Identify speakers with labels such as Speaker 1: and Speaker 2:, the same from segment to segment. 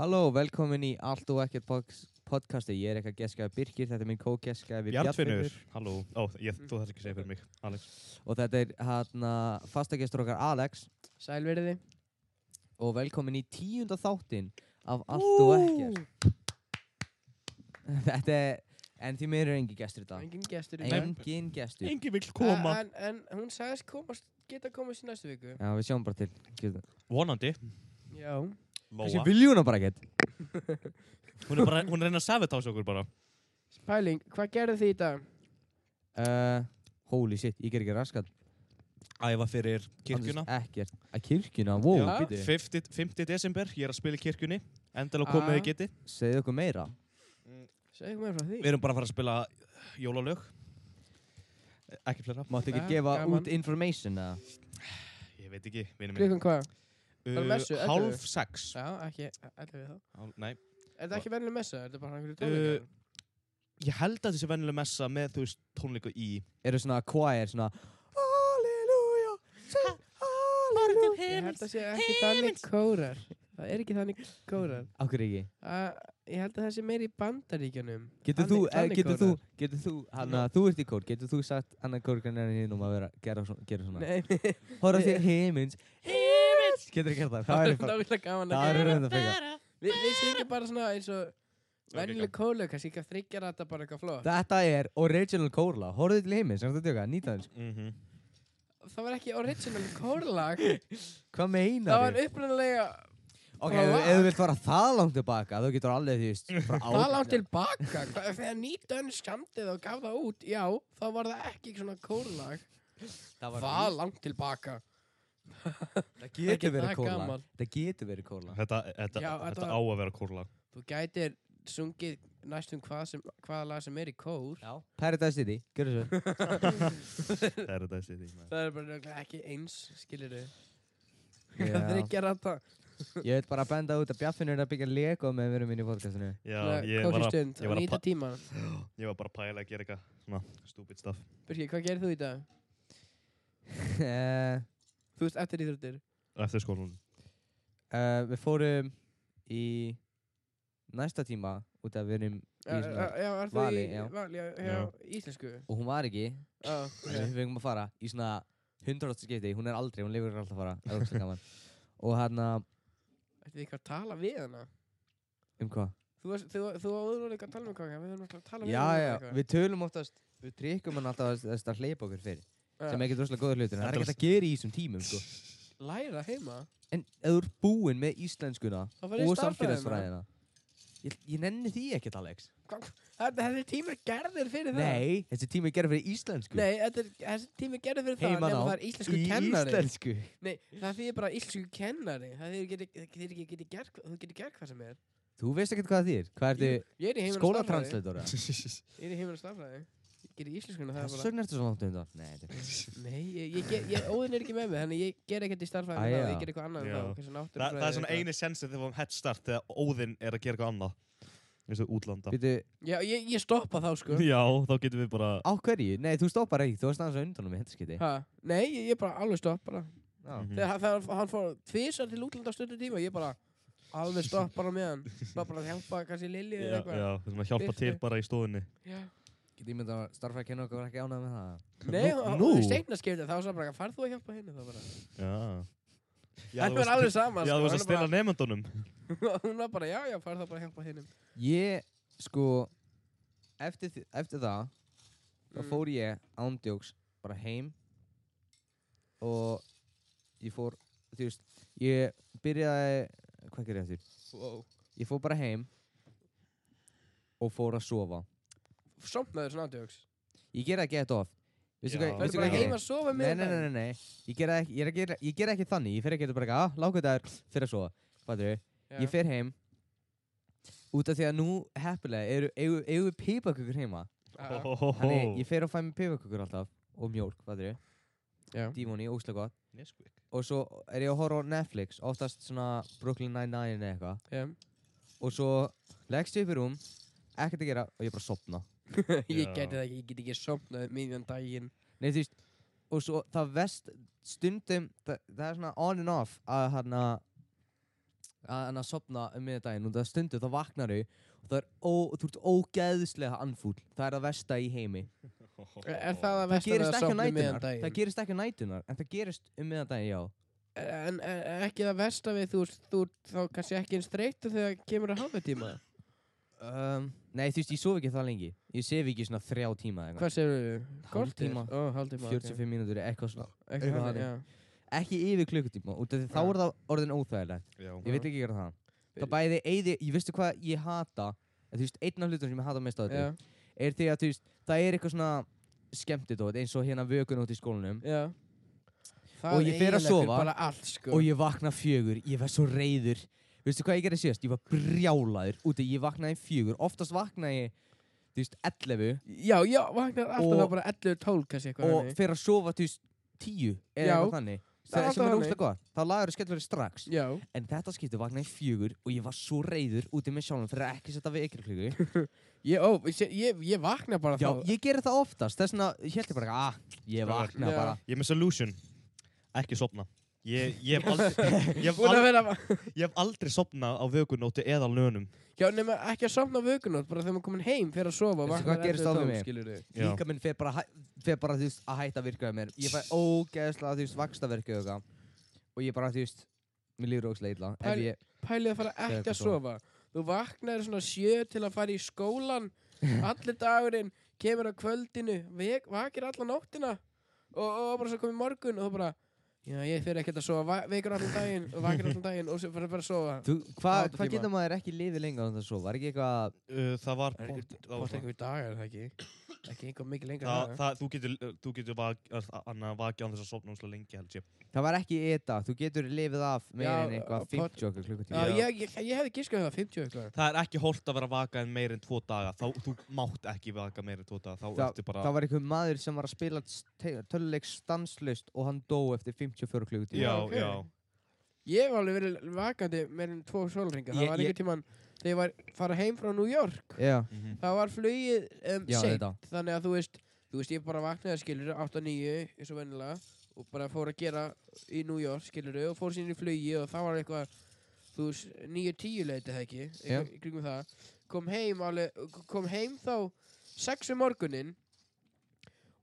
Speaker 1: Halló, velkomin í Allt og Ekkert Box- podcasti. Ég er eitthvað geskæði Birkir, þetta er minn kókeskæði
Speaker 2: Bjartfinnur, halló, ó, ég, þú þarf ekki að segja fyrir mig, Alex.
Speaker 1: Og þetta er hérna fastagestur okkar Alex
Speaker 3: Sælverði
Speaker 1: og velkomin í tíunda þáttin af Allt og Ekkert. þetta er, en því mér er engin gestur í dag.
Speaker 3: Engin gestur í dag
Speaker 1: Engin gestur.
Speaker 2: Engi vill
Speaker 3: en, en hún sagðist komast, geta komast í næstu viku
Speaker 1: Já, við sjáum bara til. Gjöðu.
Speaker 2: Vonandi,
Speaker 3: Já
Speaker 1: Þessi
Speaker 2: Lóa.
Speaker 1: viljuna bara ekkert.
Speaker 2: Hún er bara, hún er að reyna að sabotása okkur bara.
Speaker 3: Pæling, hvað gerðu þið í dag?
Speaker 1: Uh, holy shit, ég ger ekki raskat.
Speaker 2: Æfa fyrir kirkjuna.
Speaker 1: Annars Ekkert. Að kirkjuna, wow,
Speaker 2: Já,
Speaker 1: býtu.
Speaker 2: 50, 50 desember, ég er að spila í kirkjunni. Endalega komið
Speaker 3: Ah.
Speaker 2: þið geti.
Speaker 1: Segðu okkur meira.
Speaker 3: Segðu mér frá því
Speaker 2: Við erum bara að fara að spila jólalög. Ekki flera.
Speaker 1: Máttu ekki
Speaker 3: Ah,
Speaker 1: gefa
Speaker 3: gaman.
Speaker 1: út information eða?
Speaker 2: Ég veit ekki, vinni minn. Uh,
Speaker 3: Klukkan hvað? bara messu, ellefu.
Speaker 2: hálf sex.
Speaker 3: Já, ekki, allir við þá
Speaker 2: Hálf- Nei,
Speaker 3: Er þetta ekki verðileg messa? Er þetta bara einhverju
Speaker 2: Uh,
Speaker 3: tónleikar?
Speaker 2: ég held að þessi vennilega messa með, þú veist, tónleika í.
Speaker 1: eru svona choir, svona Halleluja, sing halleluja
Speaker 3: ég held að sé ekki þannig kórar Það er ekki þannig kórar
Speaker 1: Akkur ekki
Speaker 3: uh, Ég held að það sé meiri í bandaríkjanum
Speaker 1: Getur þú,
Speaker 3: Þannig-
Speaker 1: eh,
Speaker 3: þannig
Speaker 1: getur þú,
Speaker 3: kórar.
Speaker 1: getur þú, hana, þú ert í kór, getur þú sagt annan kórgrænarinn hinn um að vera, gera, svona- gera svona
Speaker 3: Nei, nei,
Speaker 1: Hóra þér heimins, heimins, getur þú gert það, það
Speaker 3: það
Speaker 1: er
Speaker 3: er
Speaker 1: bara,
Speaker 3: nákvæmlega gaman að
Speaker 1: það
Speaker 3: gera
Speaker 1: er raun að fika
Speaker 3: Við við syngjum bara svona eins og Venjuleg
Speaker 2: gegn.
Speaker 3: kóla, kannski ekki að þryggja rata bara eitthvað flott
Speaker 1: Þetta er original kórla, hóraðu til heimins, sem þú tjóka, nýta þess
Speaker 2: Mm
Speaker 3: Það var ekki original kórlag
Speaker 1: Hvað
Speaker 3: Það
Speaker 1: meinar
Speaker 3: var
Speaker 1: þið?
Speaker 3: upprunalega
Speaker 1: Ok, ef ef þú vilt fara það langt tilbaka, þú getur alveg því, veist, frá
Speaker 3: Það langt tilbaka Hva- Þegar nýtönn skamtið og gaf það út Já, þá var það ekki svona kórlag
Speaker 1: Það var-
Speaker 3: Það langt tilbaka
Speaker 1: það getur
Speaker 3: Það
Speaker 1: verið
Speaker 3: er
Speaker 1: kórla,
Speaker 3: gaman.
Speaker 1: það getur verið kórla
Speaker 2: Þetta, þetta,
Speaker 3: Já, þetta
Speaker 2: þetta á
Speaker 3: var-
Speaker 2: að vera kórlag.
Speaker 3: Þú gætir sungið næstum hvað sem, hvaða lag sem er í kór
Speaker 1: Já, Paradise City, gerðu svo
Speaker 2: Það er þetta þessi því.
Speaker 3: Það er bara nefnilega ekki eins, skilir þau Það er
Speaker 1: Já.
Speaker 3: ekki að rata
Speaker 1: Ég vil bara benda út að Bjaffinnur er að byggja Lego með verum mín í podcastinu
Speaker 2: Já, ég var, að,
Speaker 3: stund,
Speaker 2: ég var að
Speaker 3: nýta
Speaker 2: pa-
Speaker 3: tíma
Speaker 2: ég var bara að pæla að gera eitthvað svona stúbid stuff.
Speaker 3: Birgir, hvað gerir þú í dag?
Speaker 1: uh,
Speaker 3: Þú veist eftir íþróttir
Speaker 2: Eftir skólunum.
Speaker 1: uh, Við fórum í næsta tíma út af verum
Speaker 3: Já, já,
Speaker 1: Ísland.
Speaker 3: Eh, já, er þú
Speaker 1: Vali,
Speaker 3: í
Speaker 1: já.
Speaker 3: vali, já, já,
Speaker 2: Já.
Speaker 3: íslensku
Speaker 1: og hún var ekki
Speaker 3: Já,
Speaker 1: Þannig að
Speaker 3: ok.
Speaker 1: við fengum að fara í svona 100 skipti, hún er aldrei, hún lifur alltaf að fara Það er ógeðslega gaman Og hérna,
Speaker 3: Ætti þið eitthvað að tala við hana?
Speaker 1: um hvað?
Speaker 3: Þú varst- þú- þú og Úlfur voru eitthvað að tala um kaka, við höfum alltaf að
Speaker 1: Já,
Speaker 3: tala um
Speaker 1: já,
Speaker 3: eitthvað.
Speaker 1: við tölum oftast, við trykkum hann alltaf að, að- að hleypa okkur fyrir
Speaker 3: Já.
Speaker 1: sem er ekkert rosalega góður hlutur, en það er ekkert að gera í þessum tímum sko.
Speaker 3: Læra heima?
Speaker 1: En ef þú ert búinn með íslenskuna
Speaker 3: Þá farið í
Speaker 1: og
Speaker 3: starffræðina.
Speaker 1: samfélagsfræðina Ég, ég nenni því ekkert, Alex
Speaker 3: Þetta þessi tími gerðir fyrir það.
Speaker 1: Nei, þessi tími er gerð fyrir íslensku
Speaker 3: Nei, þetta er- þessi tími gerðir fyrir það.
Speaker 1: Heimanám
Speaker 3: nema Það er íslensku
Speaker 1: í
Speaker 3: kennari.
Speaker 1: íslensku
Speaker 3: Nei, það þýðir bara íslensku kennari. Það þýðir ekki, það þýðir ekki, geti gert, þú getur gert hvað sem er.
Speaker 1: Þú veist ekkert hvað það þýr Hvað
Speaker 3: Jú,
Speaker 1: ertu,
Speaker 3: Ég er í heiminn
Speaker 1: skólatransleitora?
Speaker 3: Ég er í heiminn og stafræði. Ég gerir íslenskuna, það er
Speaker 1: Þess
Speaker 3: bara...
Speaker 1: vegna ertu svo langt um það Nei, þetta er-
Speaker 3: Nei, ég, ég, ég, ég, óðin er ekki með mig, þannig ég ger ekkert í
Speaker 1: Æ,
Speaker 3: starfræði með það,
Speaker 1: já.
Speaker 3: ég ger eitthvað annað
Speaker 2: Já.
Speaker 3: með það, kannski
Speaker 2: Þa,
Speaker 3: náttúrufræði
Speaker 2: það er svona
Speaker 3: eitthvað.
Speaker 2: eini sensið þegar við fáum head start þegar Óðinn er að gera eitthvað annað. Þú veist, útlanda.
Speaker 1: Býtu,
Speaker 3: Já, ég, ég stoppa þá, sko.
Speaker 2: Já, þá getum við bara...
Speaker 1: á hverju? Nei, þú stoppar ekki, þú varst aðeins á undanum í þetta skiti
Speaker 3: Ha, nei, ég, ég bara alveg stopp bara.
Speaker 1: Já,
Speaker 2: Mhm.
Speaker 3: Ah, þegar hann- þegar hann fór tvisar til útlanda á stundum tíma ég bara alveg stopp bara með hann bara bara að hjálpa kannski Lilju
Speaker 2: Já, já,
Speaker 3: eða eitthvað
Speaker 2: við erum að hjálpa
Speaker 3: Birtu.
Speaker 2: til bara í stofunni.
Speaker 3: Já.
Speaker 1: Get ég myndi að starfa að kenna okkur var ekki ánað með það
Speaker 3: nei,
Speaker 2: Nú-
Speaker 3: og-
Speaker 2: nú?
Speaker 3: og í steina skipti þá var það bara farð þú að hjálpa henni þá bara
Speaker 2: Já. Já,
Speaker 3: henni var alveg sama
Speaker 2: Já,
Speaker 3: sko,
Speaker 2: þú varst að
Speaker 3: hann
Speaker 2: stela nefndunum.
Speaker 3: bara, hún var bara já, já, farð þá bara að hjálpa henni
Speaker 1: Ég, sko Eftir, þi- eftir það Þá
Speaker 3: Mm.
Speaker 1: fór ég ándjóks bara heim Og ég fór, þú veist Ég byrjaði, hvað gerir ég eftir?
Speaker 3: wow.
Speaker 1: Ég fór bara heim Og fór að sofa
Speaker 3: somnaður svona ádjóks
Speaker 1: Ég gera það gett oft Vistu
Speaker 2: Já.
Speaker 1: hvað,
Speaker 3: það er
Speaker 1: veistu
Speaker 3: bara
Speaker 1: hvað ég
Speaker 3: heima
Speaker 1: gera?
Speaker 3: að sofa um
Speaker 1: Nei,
Speaker 3: með
Speaker 1: nei, nei, nei, nei Ég gera það ekki, ég er að gera- ég gera ekki þannig Ég fer ekki að bara eitthvað, ah, lágkvöldaður, fyrir að sofa Fattu, ég fer heim Út af því að nú heppilega eru, eigum eigum við pipakökur heima
Speaker 3: Ah.
Speaker 1: Þannig, ég fer og fæ mér pipakökur alltaf Og mjólk, fattu, dímoni, óslega gott
Speaker 2: Nesquik.
Speaker 1: Og svo er ég að horfa á Netflix Oftast svona Brooklyn Nine-Nine eða eitthvað Og svo leggst ég upp í rúm Ekkert að gera og ég bara sopna
Speaker 3: ég
Speaker 2: Já.
Speaker 3: geti það ekki, ég get ekki somnað miðjan daginn
Speaker 1: Nei, þú veist, og svo það vest stundum, það, það er svona on and off að hérna að, en að sopna um miðdaginn og það stundu þá vaknar þau og það er ó, þú ert ógeðslega anfúl það er að versta í heimi
Speaker 3: Er, er það að um
Speaker 1: það
Speaker 3: vestan
Speaker 1: gerist ekki
Speaker 3: að
Speaker 1: á
Speaker 3: sofna
Speaker 1: nætunar
Speaker 3: meðan
Speaker 1: það
Speaker 3: daginn?
Speaker 1: gerist ekki á nætunar en það gerist um miðdaginn, já
Speaker 3: En, en en ekki það versta við þú, veist, þú ert þá kannski ekki eins þreytur þegar kemur að hafa tíma
Speaker 1: um, nei þú veist ég sof ekki það lengi ég sef ekki í svona þrjá tíma eða eitthvað.
Speaker 3: Hvað segir við?
Speaker 1: Hálftíma.
Speaker 3: Ó, hálftíma
Speaker 1: 45 mínútur eitthvað svona
Speaker 3: Ekki
Speaker 1: eitthvað
Speaker 3: þannig,
Speaker 1: þannig.
Speaker 3: já
Speaker 1: ekki yfir klukkutíma út af því þá
Speaker 3: Já.
Speaker 1: er það orðin óþægilegt
Speaker 2: Já.
Speaker 1: ég veit ekki gera það það
Speaker 3: Fyrir-
Speaker 1: bæði eyði ég veistu hvað ég hata þú veist einn af hlutum sem ég hata mest á þetta
Speaker 3: Já,
Speaker 1: er því að þú veist, það er eitthvað svona skemmtidót eins og hérna vökun út í skólanum
Speaker 3: já
Speaker 1: Og ég fer að
Speaker 3: eyðileggur
Speaker 1: sofa.
Speaker 3: bara allt sko
Speaker 1: og ég vakna fjögur, ég verð svo reyður veistu hvað ég gerði síðast, ég var brjálaður út af ég vaknaði um fjögur, oftast vaknaði ég þú veist, 11
Speaker 3: Já, já, vaknar alltaf
Speaker 1: Og-
Speaker 3: þá bara 11-12 kannski eitthvað
Speaker 1: og
Speaker 3: þannig.
Speaker 1: fer að sofa þú veist, 10 eða
Speaker 3: Já.
Speaker 1: eitthvað þannig
Speaker 3: Það er
Speaker 1: það sem
Speaker 3: alltaf
Speaker 1: er
Speaker 3: þannig.
Speaker 1: óslega gott, þá lagur og skellur strax
Speaker 3: Já,
Speaker 1: en þetta skipti vaknaði fjögur og ég var svo reyður út af mig sjálfum fyrir að ekki setja við ekkert klukku
Speaker 3: ég, ó, ég, ég, ég vakna bara
Speaker 1: já,
Speaker 3: þá
Speaker 1: ég gerði það oftast, þess vegna ég held ég bara, ah, ég vakna
Speaker 3: Já.
Speaker 1: bara
Speaker 2: Ég er með solution. Ekki sopna. Ég, ég, hef aldrei, ég, hef
Speaker 3: Búin
Speaker 2: aldrei,
Speaker 3: að vera
Speaker 2: ég hef aldrei sopna á vögunóti eða lönum.
Speaker 3: Já, nema ekki að sofna á vökunótt bara þegar maður komin heim fyrir að sofa og
Speaker 1: Veistu
Speaker 3: vaknar
Speaker 1: hvað gerist á
Speaker 3: 11-12,
Speaker 1: við mig?
Speaker 3: skilurðu.
Speaker 2: Já.
Speaker 1: líka minn fer bara, hæ- fer bara þú veist, að hætta að virka hjá mér ég fæ ógeðslega þú veist vakstaverki og eitthvað og ég bara þú veist mér líður ógeðslega illa ef
Speaker 3: Pæl-
Speaker 1: ég
Speaker 3: pælið að fara
Speaker 1: Þegar
Speaker 3: ekki
Speaker 1: eitthvað
Speaker 3: að sofa þú vaknaðir svona sjö til að fara í skólan allir dagurinn kemur á kvöldinu, vek, vakir alla nóttina og, og bara svo komið morgun og þú bara, já ég fyrir ekkert að sofa va- vekur allan daginn og vakir allan daginn og svo fyrir bara að sofa
Speaker 1: þú, hva,
Speaker 3: Átta
Speaker 1: hvað
Speaker 3: tíma.
Speaker 1: getur maður ekki lifið lengur en það svo var ekki eitthvað
Speaker 2: Uh, það var...
Speaker 3: Er
Speaker 2: pott-
Speaker 3: ekki-
Speaker 2: það var
Speaker 3: Hvort
Speaker 2: það.
Speaker 3: einhver dag er það ekki ekki einhver mikið lengra
Speaker 2: Það,
Speaker 3: en það.
Speaker 2: það, þú getur, þú getur vak, annað vakið án þess að sopna umslega lengi held ég.
Speaker 1: það var ekki ETA þú getur lifið af meira
Speaker 3: Já,
Speaker 1: en eitthvað
Speaker 3: á pot-
Speaker 1: 50 okkar klukkutíma
Speaker 3: Já,
Speaker 2: Já.
Speaker 3: ég, ég, ég hefði giskað það 50 eitthvað
Speaker 2: Það er ekki holdt að vera vakað en meir en tvo daga. Þá, þú mátt ekki vaka meir en tvo daga. Þá
Speaker 1: Þá-
Speaker 2: ertu bara...
Speaker 1: það var einhver maður sem var að spila töluleik stanslust og hann dó eftir 54 klukkutíma
Speaker 2: já,
Speaker 3: Já, ok.
Speaker 2: já.
Speaker 3: Ég hef alveg verið vakandi með enn tvo sólringa það
Speaker 1: Ég-
Speaker 3: var
Speaker 1: ég-
Speaker 3: einhver tíman þegar ég var fara heim frá New York
Speaker 1: já,
Speaker 2: Mhm.
Speaker 3: það var flugið um,
Speaker 1: já
Speaker 3: seint
Speaker 1: þetta
Speaker 3: þannig að þú veist, þú veist ég bara vaknaði skilur 8-9 eins og vennilega og bara fór að gera í New York skilur og fór sín í flugi og það var eitthvað þú veist, 9-10 leiti það ekki
Speaker 1: Já.
Speaker 3: eitthvað í kringum það kom heim, alveg, kom heim þá 6 um morgunin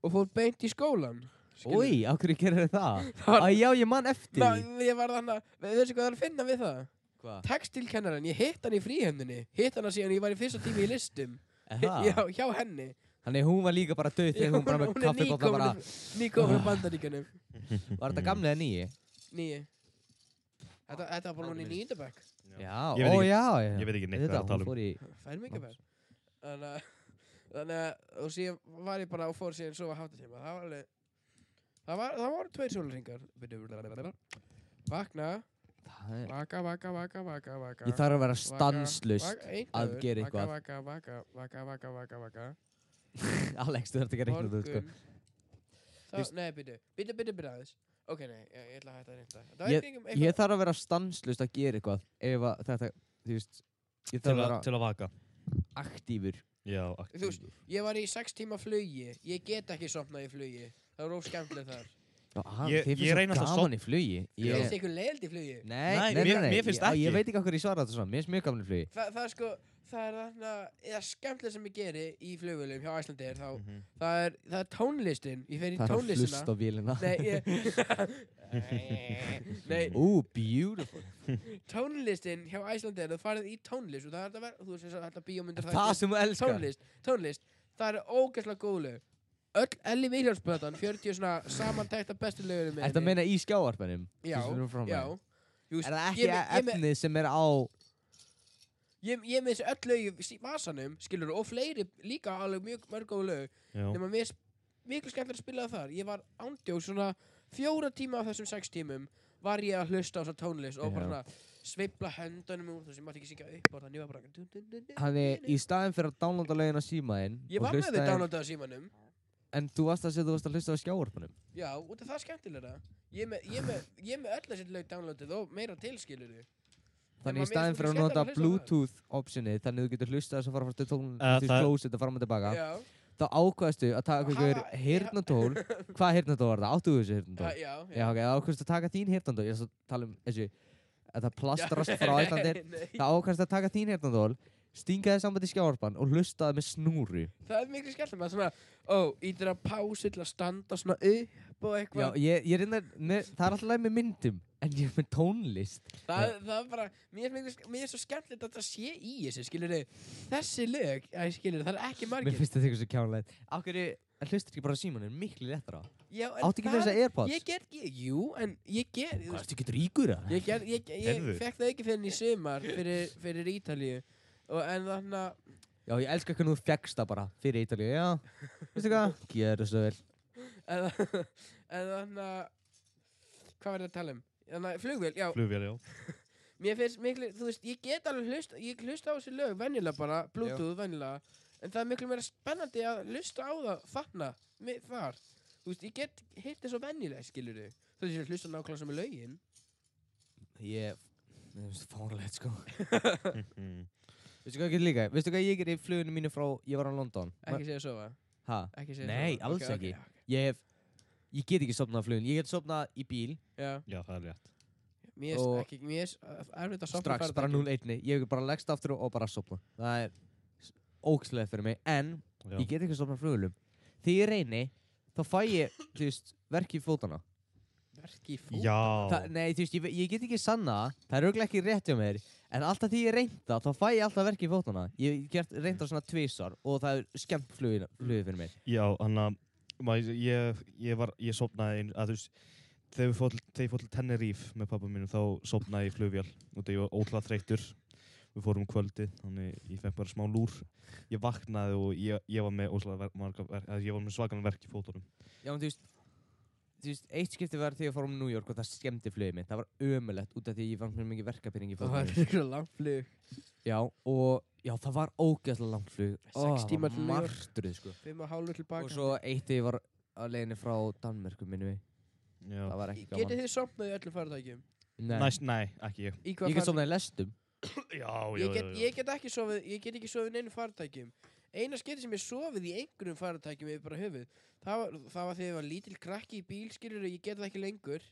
Speaker 3: og fór beint í skólan skilurðu.
Speaker 1: Úi, á hverju gerir það?
Speaker 3: Það
Speaker 1: Æ,
Speaker 3: var-
Speaker 1: já, ég man eftir
Speaker 3: Ná,
Speaker 1: því
Speaker 3: ég var þannig að, veistu hvað það er að finna við það?
Speaker 1: Hva?
Speaker 3: Textilkennarinn, ég hitt hann í fríhemdunni, hitt hann að síðan ég var í fyrsta tími í listum,
Speaker 1: Er það?
Speaker 3: já, hjá henni.
Speaker 1: Þannig hún var líka bara döð þegar hún bara með kaffibólla bara Ah.
Speaker 3: Nýkomur bandaríkanum.
Speaker 1: Var þetta gamlega nýji?
Speaker 3: Nýju Þetta, þetta var bara núna í nýjöndabæk
Speaker 1: Já,
Speaker 2: Ég
Speaker 1: ó
Speaker 2: veit ekki-
Speaker 1: já, já
Speaker 2: ég veit ekki neitt
Speaker 1: Þetta,
Speaker 2: hvað það er að
Speaker 1: hún
Speaker 2: tala um.
Speaker 1: fór í
Speaker 3: Fær mikið fær Þannig að Þannig að Og síðan var ég bara og fór síðan svo að hátta tíma Það var alveg Það var, það voru tveir sólringar Vakna
Speaker 1: Það er-
Speaker 3: Vaka, vaka, vaka, vaka, vaka
Speaker 1: Ég þarf að vera
Speaker 3: Vaka,
Speaker 1: stanslust
Speaker 3: vaka, einn
Speaker 1: að
Speaker 3: dagur.
Speaker 1: gera
Speaker 3: Vaka,
Speaker 1: eitthvað.
Speaker 3: Vaka, vaka, vaka, vaka, vaka, vaka
Speaker 1: Alex, þú þarf ekki að reikna þetta út, sko
Speaker 3: Morgun Þá,
Speaker 1: Vist-
Speaker 3: nei, byrju Byrju, byrju, byrju aðeins Ok, nei, ég, ég ætla að hætta að reynda Það
Speaker 1: Ég-
Speaker 3: var eitthvað
Speaker 1: Ég þarf að vera stanslust að gera eitthvað Ef að þetta, þú veist Ég
Speaker 2: Til,
Speaker 1: þarf að
Speaker 2: að,
Speaker 1: vera
Speaker 2: til að vaka.
Speaker 1: aktífur
Speaker 2: Já,
Speaker 3: Þú veist,
Speaker 2: aktífur.
Speaker 3: Ég var í sex tíma flugi, ég get ekki sopnað í flugi Það er óskemmtilega þar
Speaker 1: Já, ah,
Speaker 2: Ég-
Speaker 1: Þið
Speaker 2: ég
Speaker 1: finnst
Speaker 2: reyni
Speaker 1: svo
Speaker 2: alltaf
Speaker 1: gaman í flugi
Speaker 3: Ég
Speaker 1: Ég-
Speaker 3: finnst ykkur leiðild í flugi
Speaker 1: Nei,
Speaker 2: Nei,
Speaker 1: nei,
Speaker 2: mér-
Speaker 1: nei, nei
Speaker 2: mér finnst
Speaker 1: Já, Ég
Speaker 2: ekki.
Speaker 1: veit ekki okkur ég svara þetta svona Mér finnst mjög gaman í flugi
Speaker 3: Þa, Það er sko, það er þarna eða skemmtilega sem ég geri í flugvölum hjá Æslandir þá,
Speaker 2: Mhm.
Speaker 3: það, er, það er tónlistin Ég fer í
Speaker 1: Mm. Það er að
Speaker 3: tónlistina
Speaker 1: hlusta á vélina
Speaker 3: Nei, ég, nei,
Speaker 1: Ú, beautiful
Speaker 3: tónlistin hjá Æslandir þú farið í tónlist og það er þetta verð þú veist þess að þetta bíómyndir
Speaker 1: Það sem þú elskar
Speaker 3: tónlist, tónlist, það er ógæslega góð lög Öll Elli Viljánsplötan, 40 svona samantækta bestu lögurum
Speaker 1: Þetta meina í skjáarpanum
Speaker 3: Já,
Speaker 1: sem við erum fram að.
Speaker 3: já Jú,
Speaker 1: Er það ekki
Speaker 3: ég me- ég me-
Speaker 1: efnið sem er á
Speaker 3: Ég, ég með þessi öll lög í sí- vasanum, skilur, og fleiri líka alveg mjög mörg góð lög
Speaker 2: Já.
Speaker 3: nema mér finnst miklu skemmtilega að spila það þar ég var ándjóð svona fjóra tíma af þessum sex tímum var ég að hlusta á svona tónlist og bara
Speaker 1: Já.
Speaker 3: svona sveifla höndunum og þess að ég mátti ekki syngja upp og þannig ég var bara dun, dun, dun, dun,
Speaker 1: Þannig,
Speaker 3: dun,
Speaker 1: í
Speaker 3: dun.
Speaker 1: staðin fyrir að downloada lögin á símaðinn
Speaker 3: ég var með þið downloadað á símanum
Speaker 1: En þú varst að segja að þú varst að hlusta á skjáorpunum
Speaker 3: já, og það er skemmtilega ég með, ég með, ég með öll þessi lög downloadað og meira til skilur
Speaker 1: Þannig í
Speaker 3: maður
Speaker 1: staðin
Speaker 3: finnst
Speaker 1: fyrir að
Speaker 3: skemmtilega
Speaker 1: nota
Speaker 3: að hlusta á það.
Speaker 1: Bluetooth optionið Þannig þú getur hlusta þess að fara frá til tón
Speaker 2: Eh,
Speaker 1: Þú
Speaker 2: það-
Speaker 1: klósit að fara með tilbaka
Speaker 3: já,
Speaker 1: Þá ákvæðastu að taka
Speaker 3: Hafa-
Speaker 1: ykkur
Speaker 3: ég-
Speaker 1: hirnatól Hvað hirnatól var það? Áttu þú þessu
Speaker 3: já,
Speaker 1: hirnatól?
Speaker 3: já,
Speaker 1: Já, ok, þá ákvæðastu að taka þín hirnatól Ég er svo að tala um þessu þetta plastrast frá Íslandi
Speaker 3: Nei,
Speaker 1: það ákvæmst að taka þín hérnandól stingaði samband í skjárpan og hlustaði með snúru
Speaker 3: það er miklu skellum að svona, ó, ítir að pásu til að standa svona upp og
Speaker 1: Já,
Speaker 3: eitthvað
Speaker 1: ég, ég reyndar, ne, það er alltaf með myndum en ég er með tónlist
Speaker 3: það, það er bara, mér er, miklu, mér er svo skemmtilegt að það sé í þessu, skilur þessi lög, æ, skilur það er ekki
Speaker 1: Mér
Speaker 3: margir
Speaker 1: finnst þetta eitthvað svo kjánlegt Akkur hlustir ekki bara símanir, miklu lettar á
Speaker 3: Já, en
Speaker 1: Áttu ekki fyrir
Speaker 3: það-
Speaker 1: þess að AirPods?
Speaker 3: Ég get, ég, jú, en ég get þú
Speaker 1: Hvað,
Speaker 3: veist,
Speaker 1: ertu ekki ríkur að?
Speaker 3: Ég, ger, ég, ég, ég
Speaker 2: Heyrðu.
Speaker 3: fekk það ekki fyrir í sumar fyrir, fyrir Ítalíu og en þannig að
Speaker 1: Já, ég elska hvernig þú fegst það bara fyrir Ítalíu, já Veistu hvað? Gjör svo vel
Speaker 3: en þa- en þannig að hvað var ég að tala um? Þannig að flugvél, já,
Speaker 2: flugvél, já.
Speaker 3: mér finnst miklu, þú veist, ég get alveg hlust, ég hlusta á þessi lög, venjulega bara, bluetooth, venjulega, en það er miklu meira spennandi að hlusta á það, þarna, mi- þar, þú veist, ég get hitt þessu venjulega, skilur þau, þú veist, ég hlusta nákvæmlega sem er lögin,
Speaker 1: Ég, það er fárlegt sko
Speaker 2: Mm.
Speaker 1: Veistu hvað ég getur líka? Veistu hvað ég gerir í fluginu mínu frá, ég var á London Ma-
Speaker 3: ekki segja sofa,
Speaker 1: Ha?
Speaker 3: ekki segja
Speaker 1: Nei,
Speaker 3: sofa.
Speaker 1: alls
Speaker 3: Ok, ok,
Speaker 1: ekki.
Speaker 3: ok.
Speaker 1: Ég hef, ég get ekki sopnað á fluginu, ég get sopnað í bíl
Speaker 3: Já,
Speaker 2: já, það er rétt
Speaker 3: mér
Speaker 1: Og-
Speaker 3: er ekki, mér er erfitt að sofna
Speaker 1: strax, bara 0-1 Ég hef bara leggst aftur og og bara sopnað Það er ókslega fyrir mig, en
Speaker 2: já.
Speaker 1: ég get ekki sopnað á flugulum Þegar ég reyni, þá fæ ég, þú veist, verk í fótana
Speaker 3: Verki í fót?
Speaker 2: já.
Speaker 1: Þa, Nei, þú veist, ég, ve- ég get ekki sanna það, Það er auðvitað ekki rétt hjá mér En alltaf því ég reynda, þá fæ ég alltaf verk í fótana Ég hef gert reynda svona tvisar Og það er skemmt flugið fyrir mér
Speaker 2: Já, hann að maður- ég, ég var, ég sopnaði einu, að þú veist, þegar ég fór til- þegar ég fór til Tenerife með pappa mínu þá sopnaði ég í flugvél og það ég var ótrúlega þreytur við fórum um kvöldi, þannig ég fekk bara smá lúr ég vaknaði og ég, ég var með ótrúlega ver, marga verk, að ég var með svakan verk í fótunum
Speaker 1: Já, en þú veist Þú veist, eitt skipti var þegar ég fór um New York og það skemmti flugið mitt Það var ömulegt út af því ég fann mér mikið verkapinning í
Speaker 3: Það var
Speaker 1: fótunum
Speaker 3: svo langt flug
Speaker 1: Já, og já, það var ógeðslega langt flug
Speaker 3: Sex tímar til New York.
Speaker 1: Martrið, sko
Speaker 3: Fimm og hálfur
Speaker 1: Og
Speaker 3: tilbaka
Speaker 1: svo eitt þegar ég var á leiðinni frá Danmörku, minnum við
Speaker 2: já.
Speaker 1: Það var ekki
Speaker 3: Getið
Speaker 1: gaman
Speaker 3: þið sopnað í öllum fartækjum?
Speaker 1: Nei,
Speaker 2: Næst, nei, ekki ég
Speaker 3: Í
Speaker 1: Ég
Speaker 3: hvað
Speaker 1: get sofnað í lestum
Speaker 2: já, já,
Speaker 3: Ég get,
Speaker 2: já, já.
Speaker 3: ég get ekki sofið, ég get ekki sofið í neinum fartækjum Eina skeitt sem ég sofið í einhverjum fartækjum er bara höfuð Það var, það var þegar ég var lítil krakki í bíl skilur og ég get það ekki lengur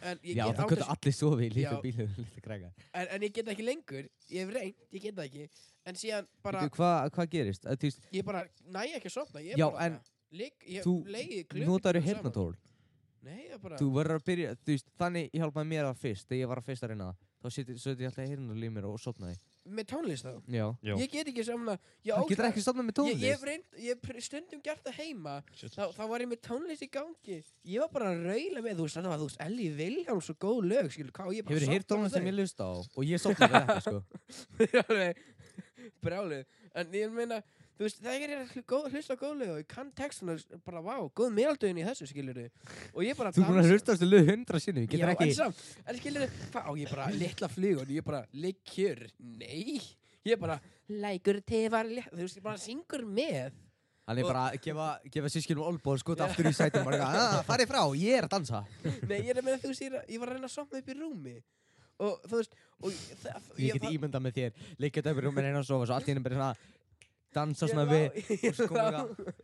Speaker 3: En ég
Speaker 1: Já,
Speaker 3: get
Speaker 1: það
Speaker 3: án
Speaker 1: köttu
Speaker 3: þess-
Speaker 1: allir sofið í
Speaker 3: Já.
Speaker 1: lítið bílum, lítið kræka
Speaker 3: en, en ég get það ekki lengur, ég hef reynt, ég get það ekki En síðan bara,
Speaker 1: Veitu, Hvað hva gerist? Að, þú veist,
Speaker 3: ég bara næ ekki að sofna Ég
Speaker 1: Já,
Speaker 3: bara,
Speaker 1: en
Speaker 3: Ligg- ég
Speaker 1: þú
Speaker 3: leiði
Speaker 1: notar þú heyrnatól
Speaker 3: Nei, ég bara,
Speaker 1: Þú verður að byrja, þú veist, þannig hjálpaði mér að fyrst Þegar ég var að fyrst að reyna það Þá seti, seti ég alltaf heyrnatól í mér og sofnaði
Speaker 3: með tónlist þá
Speaker 1: Já
Speaker 2: Já.
Speaker 3: Ég get ekki sofna
Speaker 1: Það getur ekki sofnað með
Speaker 3: Ég, ég hef
Speaker 1: tónlist
Speaker 3: reynd, ég hef pr- stundum gert það heima
Speaker 2: Shit.
Speaker 3: þá, þá var ég með tónlist í gangi Ég var bara að raula með, þú veist, þannig að þú veist Ellie Viljáns og góð lög, skilur, hvað á ég bara um
Speaker 1: Hefur þið heyrt tónlist sem ég lusta á Og ég sofnaði við þetta, sko
Speaker 3: ég Brálið, en ég meina Þú veist, þegar ég er að hlu- góð- hlusta á góð lög og ég kann textuna, bara, vá, góð meðaldögin í þessu, skilur Og ég bara
Speaker 1: Þú er búin að
Speaker 3: dansa-
Speaker 1: hlusta á þessu lög hundra sinnum ég
Speaker 3: Já,
Speaker 1: getur
Speaker 3: en
Speaker 1: ekki
Speaker 3: samt, en skilur þið, hvað á ég bara litla flugun, ég bara likjur, nei, ég bara lækur tefar, létt- þú veist, ég bara syngur með.
Speaker 1: Hann er
Speaker 3: Og-
Speaker 1: bara að gefa, gefa sískinum olbóð skot aftur í sætum og bara eitthvað, "Ah, farið frá, ég er að dansa
Speaker 3: Nei, ég er að meina þú veist, ég, er að- ég var að reyna að sofna upp í rúmi og þú veist, og það,
Speaker 1: Ég get ímyndað með þér, leikja þetta upp í rúminu einu og sofa svo allt í einu bara svona dansa svona við
Speaker 3: og
Speaker 1: svo kom ég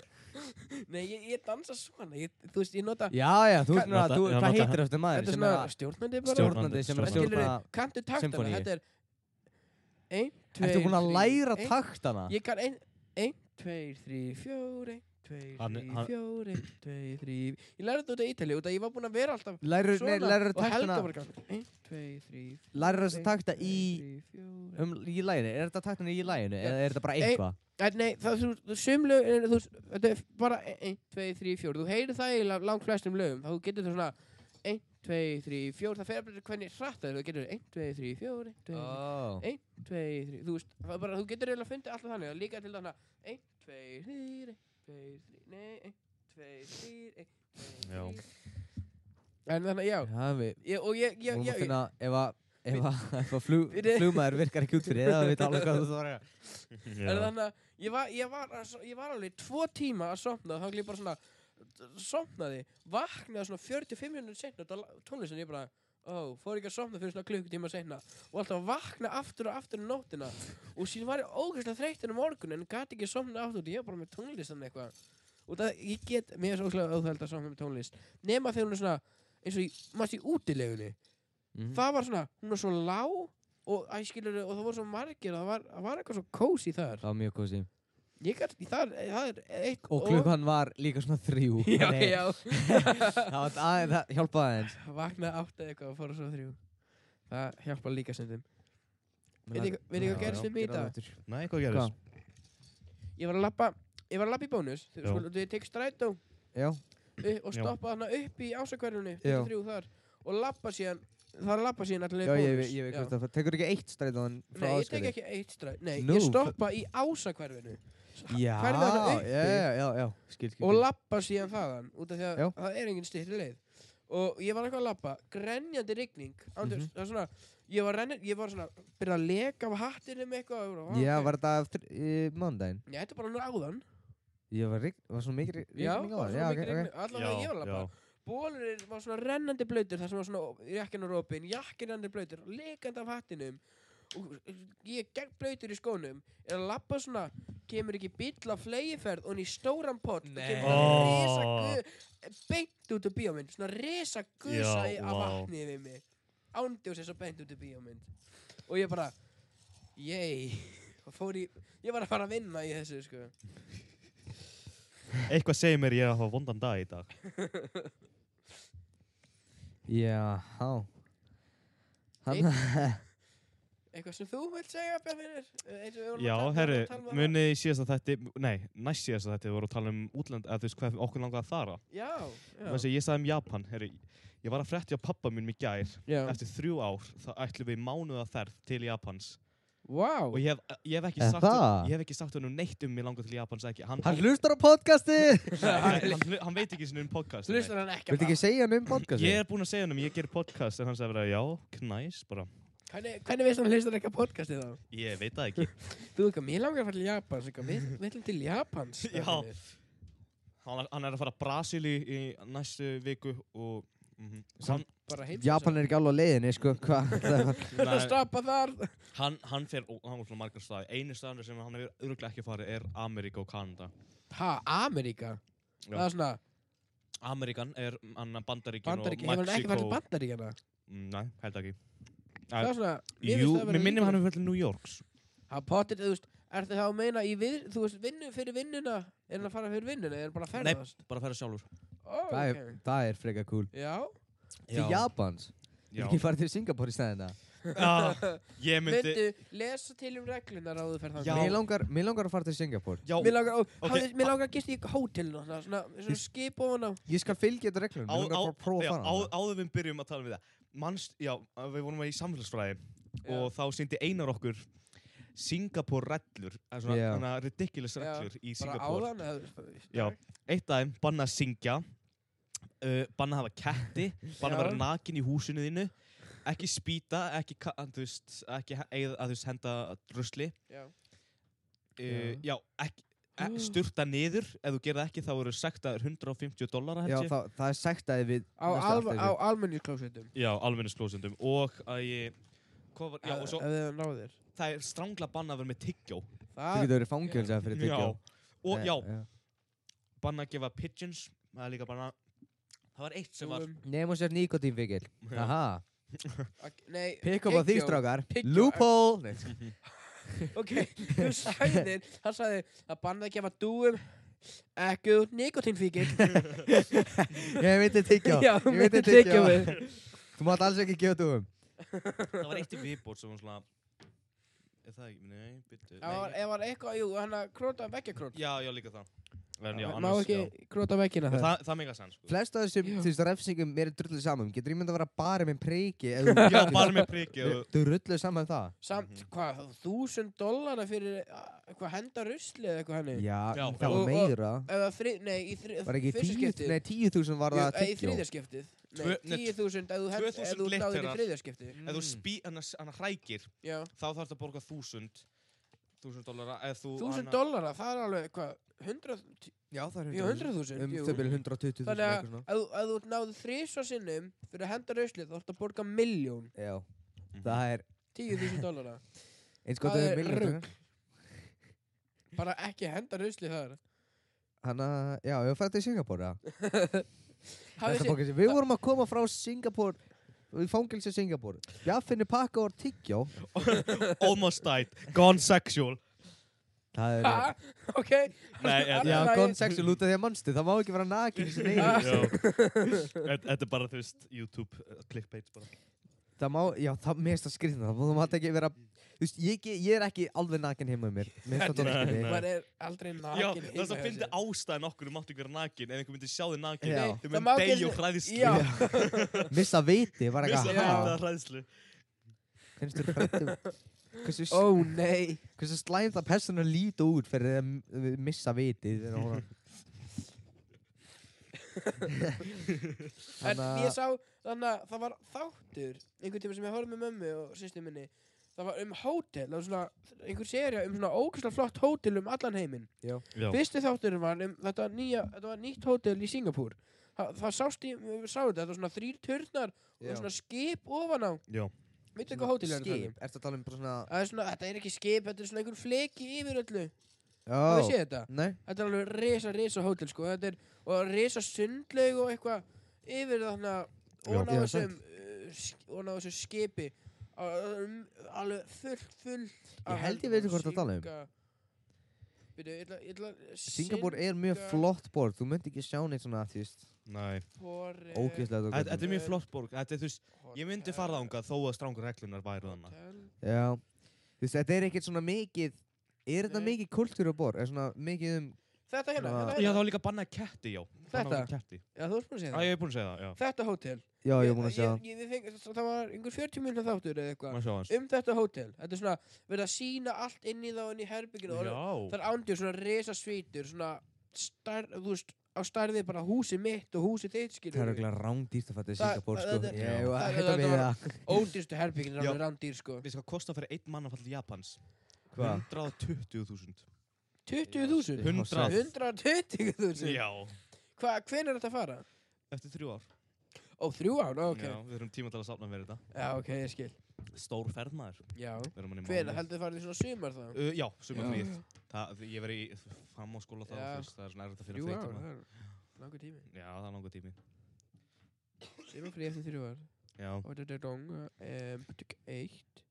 Speaker 3: Nei, ég, ég dansa svona, ég, þú veist, ég nota,
Speaker 1: Já, já, þú
Speaker 3: Ka-
Speaker 1: ert núna,
Speaker 2: Nota-
Speaker 1: þú,
Speaker 2: já,
Speaker 1: hvað
Speaker 2: nota-
Speaker 1: heitir þetta maður
Speaker 3: þetta er
Speaker 1: sem er
Speaker 3: svona
Speaker 1: að
Speaker 3: stjórnandi bara.
Speaker 2: Stjórn-
Speaker 1: stjórnandi sem er að
Speaker 2: Stjórnandi,
Speaker 1: stjórna
Speaker 3: Skilurðu, kanntu taktana,
Speaker 1: symfóníu.
Speaker 3: þetta er, ein, tveir,
Speaker 1: Ertu búin að
Speaker 3: þrír,
Speaker 1: læra
Speaker 3: ein,
Speaker 1: taktana?
Speaker 3: Ég kann ein, ein, tveir, þrý, fjóri Tveir,
Speaker 2: Hann-
Speaker 3: þrý,
Speaker 2: hann-
Speaker 3: fjóri, tveir, þrý Ég lærði þetta út af Ítali út af ég var búinn að vera alltaf
Speaker 1: Lærir
Speaker 3: svona
Speaker 1: þú
Speaker 3: og Helga
Speaker 1: taktana,
Speaker 3: var grann Ein, tveir, þrý,
Speaker 1: lærir þess að takta í,
Speaker 3: fjóri
Speaker 1: um, í læginu, er þetta taktana í læginu
Speaker 3: Já.
Speaker 1: eða er þetta bara
Speaker 3: Ein-
Speaker 1: eitthvað?
Speaker 3: Nei, það þú, þú sumlu þú, Þetta er bara ein, tveir, þrý, fjóri Þú heyrir það í langt flestum lögum Þá getur þú svona Ein, tveir, þrý, fjóri Það fer að byrja hvernig hratt það er Þú getur ein, tveir, þrý, fjóri ein, tveir,
Speaker 1: Ó.
Speaker 3: tveir, þrý, þú veist, það er bara, þú getur eiginlega fundið alltaf þannig og líka til þarna, ein, tveir, þrýr, ein, tveir, þrýr, nei, ein, tveir, þrýr, ein, tveir,
Speaker 2: Já.
Speaker 3: þrýr. En þannig, já,
Speaker 1: Já, við
Speaker 3: ég, og ég,
Speaker 1: Við
Speaker 3: ég,
Speaker 1: erum að
Speaker 3: já, ég,
Speaker 1: finna ef að Ef að, ef að flug,
Speaker 3: Byrju.
Speaker 1: flugmaður virkar ekki út fyrir eða við tala hvað þú þarf að gera.
Speaker 3: en
Speaker 2: já.
Speaker 3: þannig, að ég var, ég var, að so- ég var alveg tvo tíma að sofna, þá glýði bara svona, sofnaði, vaknaði svona 45 minútur seinna, þetta tónlistin, ég bara, ó, fór ekki að sofna fyrir svona klukkutíma seinna og alltaf að vakna aftur og aftur um nóttina og síðan var ég ógeðslega þreytinn um morgun en gæti ekki sofna aftur, því ég var bara með tónlistin eitthvað og það, ég get, mér er svo óslega óþægild að sofna með tónlist nema þegar hún er svona, eins og í, mást í útilegunni
Speaker 1: Mhm.
Speaker 3: það var svona, hún var svo lág og, æ, skilur, og það voru svo margir og það var, það var eitthvað svo kósi þar
Speaker 1: Það var mjög kósi
Speaker 3: ég gæt, það, er- það er eitt
Speaker 1: Og klukkan var líka svona þrjú
Speaker 3: já,
Speaker 1: þannig
Speaker 3: já,
Speaker 1: Það, var aðeins, það hjálpaði aðeins
Speaker 3: vaknaði átt eða eitthvað og fór svo þrjú það hjálpa líka sem þeim
Speaker 1: Mig
Speaker 3: veit
Speaker 1: langar-
Speaker 3: ég hvað
Speaker 2: Já,
Speaker 3: gerst
Speaker 2: já,
Speaker 3: um í
Speaker 1: Gerðu það
Speaker 3: dag
Speaker 1: aftur.
Speaker 2: Nei, hvað gerist?
Speaker 1: Hvað?
Speaker 3: ég var að lappa ég var að lappa í bónus
Speaker 2: Já.
Speaker 3: þú sko, þú tek strætó
Speaker 1: Já,
Speaker 3: upp- og
Speaker 2: Já.
Speaker 3: stoppa þarna upp í ásakverjunni
Speaker 1: Já.
Speaker 3: þrjú þar og lappa síðan það er að lappa síðan allir
Speaker 1: já ég, ég, ég veit hvort það Tekur ekki eitt stræðan frá
Speaker 3: nei, ég tek
Speaker 1: Ásgarði?
Speaker 3: ekki eitt stræt nei,
Speaker 1: Nú,
Speaker 3: ég stoppa í ásakverjunni
Speaker 1: Já,
Speaker 3: færðu hana uppi.
Speaker 1: já, já, já, já Skil, skil,
Speaker 3: og
Speaker 1: skil
Speaker 3: lappa síðan þaðan út af því að
Speaker 1: Já.
Speaker 3: það er engin styttri leið og ég var eitthvað að lappa grenjandi rigning Andurs,
Speaker 1: Mhm.
Speaker 3: það var svona ég var, renni, ég var svona byrjað að leka af hattinu með eitthvað og ég bara,
Speaker 1: Já,
Speaker 3: ok.
Speaker 1: var þetta eftir uh, mándaginn?
Speaker 3: Nei, þetta er bara nú áðan
Speaker 1: Ég var, rign, var svona mikið rigning
Speaker 3: já,
Speaker 1: á
Speaker 3: bara
Speaker 1: það?
Speaker 3: svona
Speaker 1: Já,
Speaker 3: mikið
Speaker 1: ok, ok
Speaker 3: rigning allavega ég var að lappa Bólurinn var svona rennandi blöytur þar sem var svona jakkin og rópin, jakkin rennandi blöytur, leikandi af hattinum og ég gegn blöytur í skónum er að lappa svona, kemur ekki bíll á flegiferð og hann í stóran pott og
Speaker 1: Nei.
Speaker 3: kemur oh.
Speaker 2: Ó.
Speaker 3: resa gu beint út úr bíómynd, svona resa gusa
Speaker 2: Já,
Speaker 3: í- af
Speaker 2: vá.
Speaker 3: vatni við mig ándjóð sér svo beint út úr bíómynd og ég bara, yey og fór í, ég var að fara að vinna í þessu sko
Speaker 2: Eitthvað segir mér ég að hafa vondan dag í dag.
Speaker 1: Já, há Hann,
Speaker 3: eitthvað sem þú vilt segja Bjarnir eins og við vorum að
Speaker 2: Já,
Speaker 3: tala-
Speaker 2: herru,
Speaker 3: vorum að tala um það.
Speaker 2: munið í síðasta þætti, nei, næst síðasta þætti voru að tala um útlönd, eða þú veist hvað okkur langaði að fara.
Speaker 3: já, já.
Speaker 2: Þannig að ég sagði um Japan, herru, ég var að frétti á pappa minn í gær,
Speaker 3: Já.
Speaker 2: eftir þrjú ár, þá ætlum við mánuða ferð til Japans.
Speaker 3: Vá.
Speaker 2: Og ég hef, ég hef, ekki,
Speaker 1: Er
Speaker 2: sagt,
Speaker 1: það?
Speaker 2: ég hef ekki sagt honum neitt um mig langað til Japans ekki. Hann,
Speaker 1: hann hlustar á podcastið
Speaker 2: hann, hann, hann veit ekki sinni um podcast.
Speaker 3: Þú hlustar hann ekki
Speaker 1: Viltu ekki segja hann um podcastið?
Speaker 2: Ég er búinn að segja honum, ég ger podcast, en hann sagði bara, já, knæs, bara,
Speaker 3: Hvernig, hvernig veist hann hlustar ekki að podcastið þá?
Speaker 2: ég veit það ekki.
Speaker 3: Þú veit hvað, mér langar að fara til Japans. eitthvað, Við við ætlum til Japans.
Speaker 2: Já. hann, hann er að fara að Brasíli í næstu viku og... Mm hann,
Speaker 3: Bara heim.
Speaker 1: Japan er ekki alveg á leiðinni, sko Hvað?
Speaker 3: Það er að stoppa þar.
Speaker 2: hann, hann fer og hann er svona margar staði. Einu staðan sem hann hefur öruglega ekki farið er Ameríka og Kanada.
Speaker 3: Ha, Ameríka.
Speaker 2: Já.
Speaker 3: Það er svona,
Speaker 2: Ameríkan er hann Bandaríkin
Speaker 3: Bandaríkja.
Speaker 2: og
Speaker 3: Hefur hann
Speaker 2: Mexiko.
Speaker 3: ekki farið til Bandaríkjana?
Speaker 2: Mm, Nei, held ekki.
Speaker 3: Það er svona, mér
Speaker 2: Jú,
Speaker 3: finnst það
Speaker 2: mér minnum hann um- hefur verið til New Yorks.
Speaker 3: Hann pottir, þú veist, er það þá að meina í við, þú veist, vinnu fyrir vinnuna? Er hann að fara fyrir vinnuna? Er hann bara að
Speaker 2: Nei.
Speaker 3: ferðast?
Speaker 2: Bara að færa sjálfur.
Speaker 3: Ó,
Speaker 1: Það er,
Speaker 3: ok.
Speaker 1: það er freka cool
Speaker 3: Já.
Speaker 1: Til Japans?
Speaker 2: Já.
Speaker 1: Ég farið til Singapore í stæðina
Speaker 2: Ah, ég myndi...
Speaker 3: Myndu, lesa til um reglunar áður fyrir
Speaker 2: Já.
Speaker 1: Mér langar, mér langar að fara til Singapore
Speaker 2: Já,
Speaker 3: Mér langar, okay.
Speaker 2: Ok.
Speaker 3: hafði, mér langar að gista í hótelinu, svona, svona, svona skip ofan á.
Speaker 1: Ég skal fylgja þetta reglum,
Speaker 2: á-
Speaker 1: mér langar
Speaker 2: á-
Speaker 1: bara að prófa að
Speaker 2: já,
Speaker 1: fara
Speaker 2: á-
Speaker 1: hana.
Speaker 2: áður við byrjum að tala um það Manst, já, við vorum í samfélagsfræði og þá syndi einar okkur Singapore rellur eh, svona,
Speaker 1: Já.
Speaker 2: svona ridiculous
Speaker 3: Já,
Speaker 2: rellur í
Speaker 3: Bara
Speaker 2: Singapore
Speaker 3: áðan eða...
Speaker 2: já, eitt aðeim, banna að syngja uh, banna að hafa ketti banna að
Speaker 3: Já.
Speaker 2: vera nakin í húsinu þínu ekki spýta, ekki, ka- að þú veist, ekki he- eigð- að þú veist, henda drusli
Speaker 3: Já.
Speaker 2: uh,
Speaker 1: Já.
Speaker 2: já, ekki e- Sturta niður, ef þú gerir það ekki þá eru sektaðir 150 dollara
Speaker 1: Já,
Speaker 2: held ég.
Speaker 1: það, það er sektaði við
Speaker 3: Á,
Speaker 1: næstu
Speaker 3: alv
Speaker 1: aftur
Speaker 3: á
Speaker 1: þessu.
Speaker 3: almennisklósettum.
Speaker 2: Já, almennisklósendum og að ég hvað var, já, og svo,
Speaker 3: Ef þið náðir.
Speaker 2: það er strangla banna að vera með tyggjó
Speaker 1: Þú
Speaker 3: Það...
Speaker 1: getur verið fangilsa fyrir tyggjó Eh,
Speaker 2: og
Speaker 1: Nei,
Speaker 2: já, banna að gefa pigeons það er líka banna það var eitt sem var
Speaker 3: um,
Speaker 1: Nefnum sér nikotínfíkil
Speaker 2: Já.
Speaker 1: Aha,
Speaker 3: ak- Nei,
Speaker 1: pikk upp á því
Speaker 3: tyggjó.
Speaker 1: strákar
Speaker 3: Tyggjó.
Speaker 1: Loophole Nei,
Speaker 3: Ok, þú sagðir, hann sagði að bannaði að gefa dúum ekki út nikotínfíkil.
Speaker 1: Ég veit þið tyggjó
Speaker 3: Já,
Speaker 1: Ég veit
Speaker 3: myndi
Speaker 1: þið
Speaker 3: tyggja
Speaker 1: tyggjó
Speaker 3: við.
Speaker 1: Þú mátt alls ekki gefa um. dúum
Speaker 2: það var eitt í viðbót sem var svona er það ekki, nei, byttu
Speaker 3: Það var- Ef var eitthvað, jú, hann að króta vekkjakrót.
Speaker 2: já, já, líka það en já,
Speaker 3: Má
Speaker 2: annars já.
Speaker 3: ekki króta vekkina
Speaker 2: En
Speaker 3: það.
Speaker 2: það, það meika sann sko.
Speaker 1: Flest af þessum,
Speaker 3: Já.
Speaker 1: þú veist, refsingum mér er drullu saman Getur ég mynd að vera bara með preiki ef þú-
Speaker 2: já, bara með priki og
Speaker 1: Drullu saman um það
Speaker 3: Samt, hvað, þúsund dollara fyrir, a- hvað, henda rusli eða eitthvað henni?
Speaker 1: Já,
Speaker 2: Já,
Speaker 1: það
Speaker 3: og-
Speaker 1: var
Speaker 3: og-
Speaker 1: meira
Speaker 3: Eða þrið, nei, í þrið,
Speaker 1: Var ekki tíu, nei, tíu þúsund var það
Speaker 3: Jú, í
Speaker 1: tyggjó
Speaker 3: þriðjaskiptið Nei,
Speaker 2: Tvö- Mm. nei,
Speaker 3: 10.000 ef þú hef-
Speaker 2: 2000
Speaker 3: ef þú náðir í
Speaker 2: glitterar.
Speaker 3: þriðjaskipti
Speaker 2: ef þú spý, hann, hann hrækir
Speaker 3: Já,
Speaker 2: þá þarf það að borga þúsund þúsund dollara ef þú
Speaker 3: 1000
Speaker 2: hana-
Speaker 3: dollara, það er alveg hvað 100,
Speaker 1: Já, það er
Speaker 3: já, 100.000
Speaker 1: Um
Speaker 3: jú.
Speaker 1: þau byrju 120
Speaker 3: Þannig að ef þú- ef þú náðu þrísvar sinnum fyrir að henda rauslið þá ætti að borga miljón
Speaker 1: Já,
Speaker 2: Mhm.
Speaker 1: það er
Speaker 3: 10.000 dollara
Speaker 1: eins gott
Speaker 3: Það
Speaker 1: að
Speaker 3: er
Speaker 1: það er miljónir
Speaker 3: rugl. bara ekki henda rauslið þar
Speaker 1: Hanna, já, við fættum til Singapore já.
Speaker 3: Hafið
Speaker 1: Næsta
Speaker 3: þið-
Speaker 1: podcast, Við vorum að koma frá Singapore í fangilsi Singapur Bjaffinni pakka og tyggjó
Speaker 2: Almost died, gone sexual
Speaker 1: Það er
Speaker 3: Ha? Ok
Speaker 2: Nei, en-
Speaker 1: Já,
Speaker 3: Allt í lagi.
Speaker 1: góðan sexu lúta því að mannstu, það má ekki vera nakin sem
Speaker 3: Ah.
Speaker 1: eigin
Speaker 2: Já. Þetta þetta er bara, þú veist, YouTube uh, clickbait bara.
Speaker 1: Það má, já, það mest að skrifna, það má það mátti ekki vera Þú veist, ég, ge- ég er ekki alveg nakin heima um mér Mér finnst það dóttir
Speaker 2: Nei, nei.
Speaker 1: mig
Speaker 3: Maður er aldrei nakin
Speaker 2: Já,
Speaker 3: heima
Speaker 2: það er það
Speaker 3: hjá
Speaker 2: að fyndi
Speaker 3: sér.
Speaker 2: ástæðan okkur um áttu ekki vera nakin ef einhver myndi sjá þig nakin,
Speaker 1: Já.
Speaker 2: þau
Speaker 3: Það má
Speaker 2: myndi
Speaker 3: ekki-
Speaker 2: deyja og hræðislu
Speaker 3: Já.
Speaker 1: Missa viti, var
Speaker 2: Vissi
Speaker 1: ekki
Speaker 2: að
Speaker 3: Já.
Speaker 2: það
Speaker 1: að
Speaker 2: er hræðislu
Speaker 1: Finnst þú hrættum Hversu,
Speaker 3: Ó
Speaker 1: oh.
Speaker 3: nei
Speaker 1: hversu slæmt að persónu líta út fyrir að m- missa viti þegar hún er-
Speaker 3: En
Speaker 1: Þannig að-
Speaker 3: ég sá Þannig að það var þáttur Einhvern tíma sem ég horfði með mömmu og systur minni Það var um hótel Það var svona Einhver serja um svona ógæslega flott hótel um allan heiminn
Speaker 2: Já,
Speaker 3: Fyrsti þátturinn var um þetta, nýja, þetta var nýtt hótel í Singapúr Þa, Það sást í Við sáum þetta Þetta var svona þrýr turnar
Speaker 1: Já.
Speaker 3: Og svona skip ofan á
Speaker 2: já,
Speaker 3: Veitu hvað hótel er
Speaker 1: Skip,
Speaker 3: þetta?
Speaker 1: ertu að tala um bara svona
Speaker 3: Það er svona, þetta er ekki skip, þetta er svona einhvern fleki yfir öllu. Það
Speaker 1: Ó,
Speaker 3: sé þetta.
Speaker 1: nei
Speaker 3: Þetta er alveg risa, risa hótel, sko. Þetta er, og risa sundlaug og eitthvað yfir þarna, og
Speaker 1: Já,
Speaker 3: á þessum, og á þessu skipi. Á- um, Alveg fullt, fullt.
Speaker 1: Ég held ég veit hvort það tala um.
Speaker 3: Býtu, ég ætla, ég ætla,
Speaker 1: Singapur er mjög
Speaker 3: Singa-
Speaker 1: flott borg, þú myndi ekki sjá neitt svona, þú veist,
Speaker 2: næ
Speaker 3: Singapore...
Speaker 1: Eh.
Speaker 3: eh,
Speaker 1: ógeðslega
Speaker 2: Þetta þetta er mjög
Speaker 3: Hotel.
Speaker 2: flott borg, þetta er, þú veist, ég myndi fara þangað þó að strángur reglunar væru þannig
Speaker 1: Já, þú veist, þetta er ekkert svona mikið, er þetta
Speaker 3: Nei.
Speaker 1: mikið kultúr á borð, er svona mikið um,
Speaker 3: Þetta hérna,
Speaker 1: Já.
Speaker 3: þetta
Speaker 2: Já, það
Speaker 3: hérna.
Speaker 2: var líka bannað ketti, já
Speaker 3: Þetta?
Speaker 2: Bannað ketti.
Speaker 3: Já, þú erst búin að segja
Speaker 2: Já,
Speaker 3: það.
Speaker 2: ég er búinn að segja það, já
Speaker 3: Þetta hótel.
Speaker 1: já, ég er búin að sjá,
Speaker 3: Ég, ég, ég, það var einhver 40 minna þáttur eða eitthvað.
Speaker 2: Má sjá hans
Speaker 3: um þetta hótel þetta er svona verið að sína allt inn í þá inn í herbygginu og það
Speaker 2: Já,
Speaker 3: er ándur svona resa svítur svona star, þú veist á starfið bara húsi mitt og húsi þitt
Speaker 1: það er
Speaker 3: skilur
Speaker 1: eiginlega rándýrt að fatta í
Speaker 3: Það-
Speaker 1: Singapur,
Speaker 3: það-
Speaker 1: sko.
Speaker 3: þetta-
Speaker 1: Ég
Speaker 2: Já.
Speaker 1: var
Speaker 3: það-
Speaker 1: ekkert að
Speaker 3: þetta
Speaker 1: við
Speaker 3: var-
Speaker 1: það.
Speaker 3: ódýrstu herbyggin er
Speaker 2: Já.
Speaker 3: alveg randýr sko
Speaker 2: við sko kostar fyrir einn mann að falla til Japans
Speaker 1: Hvað?
Speaker 2: 120.000
Speaker 3: 20.000
Speaker 1: Hund-
Speaker 2: 100
Speaker 3: 120.000
Speaker 2: Já,
Speaker 3: hvað, hven er þetta að fara?
Speaker 2: eftir þrjú ár
Speaker 3: ó, þrjú ár, ó, ok
Speaker 2: Já,
Speaker 3: já.
Speaker 2: við þurfum tíma til að safna fyrir þetta
Speaker 3: ok, ég skil
Speaker 2: Stór ferð maður
Speaker 3: já
Speaker 2: Við erum hann í
Speaker 3: hven,
Speaker 2: mánuð.
Speaker 3: heldur þið farið í svona sumar þá?
Speaker 2: Uh, já, sumar
Speaker 3: Já.
Speaker 2: fríð. Það, ég verið í framháskóla þá,
Speaker 3: Já.
Speaker 2: þú veist, það er svona erfitt að finna
Speaker 3: þrjú
Speaker 2: þreytur
Speaker 3: ár,
Speaker 2: maður.
Speaker 3: það er langur tími
Speaker 2: Já, það er langa tími.
Speaker 3: sumar frí eftir þrjú ár
Speaker 2: Já,
Speaker 3: og þetta er dong um, eitt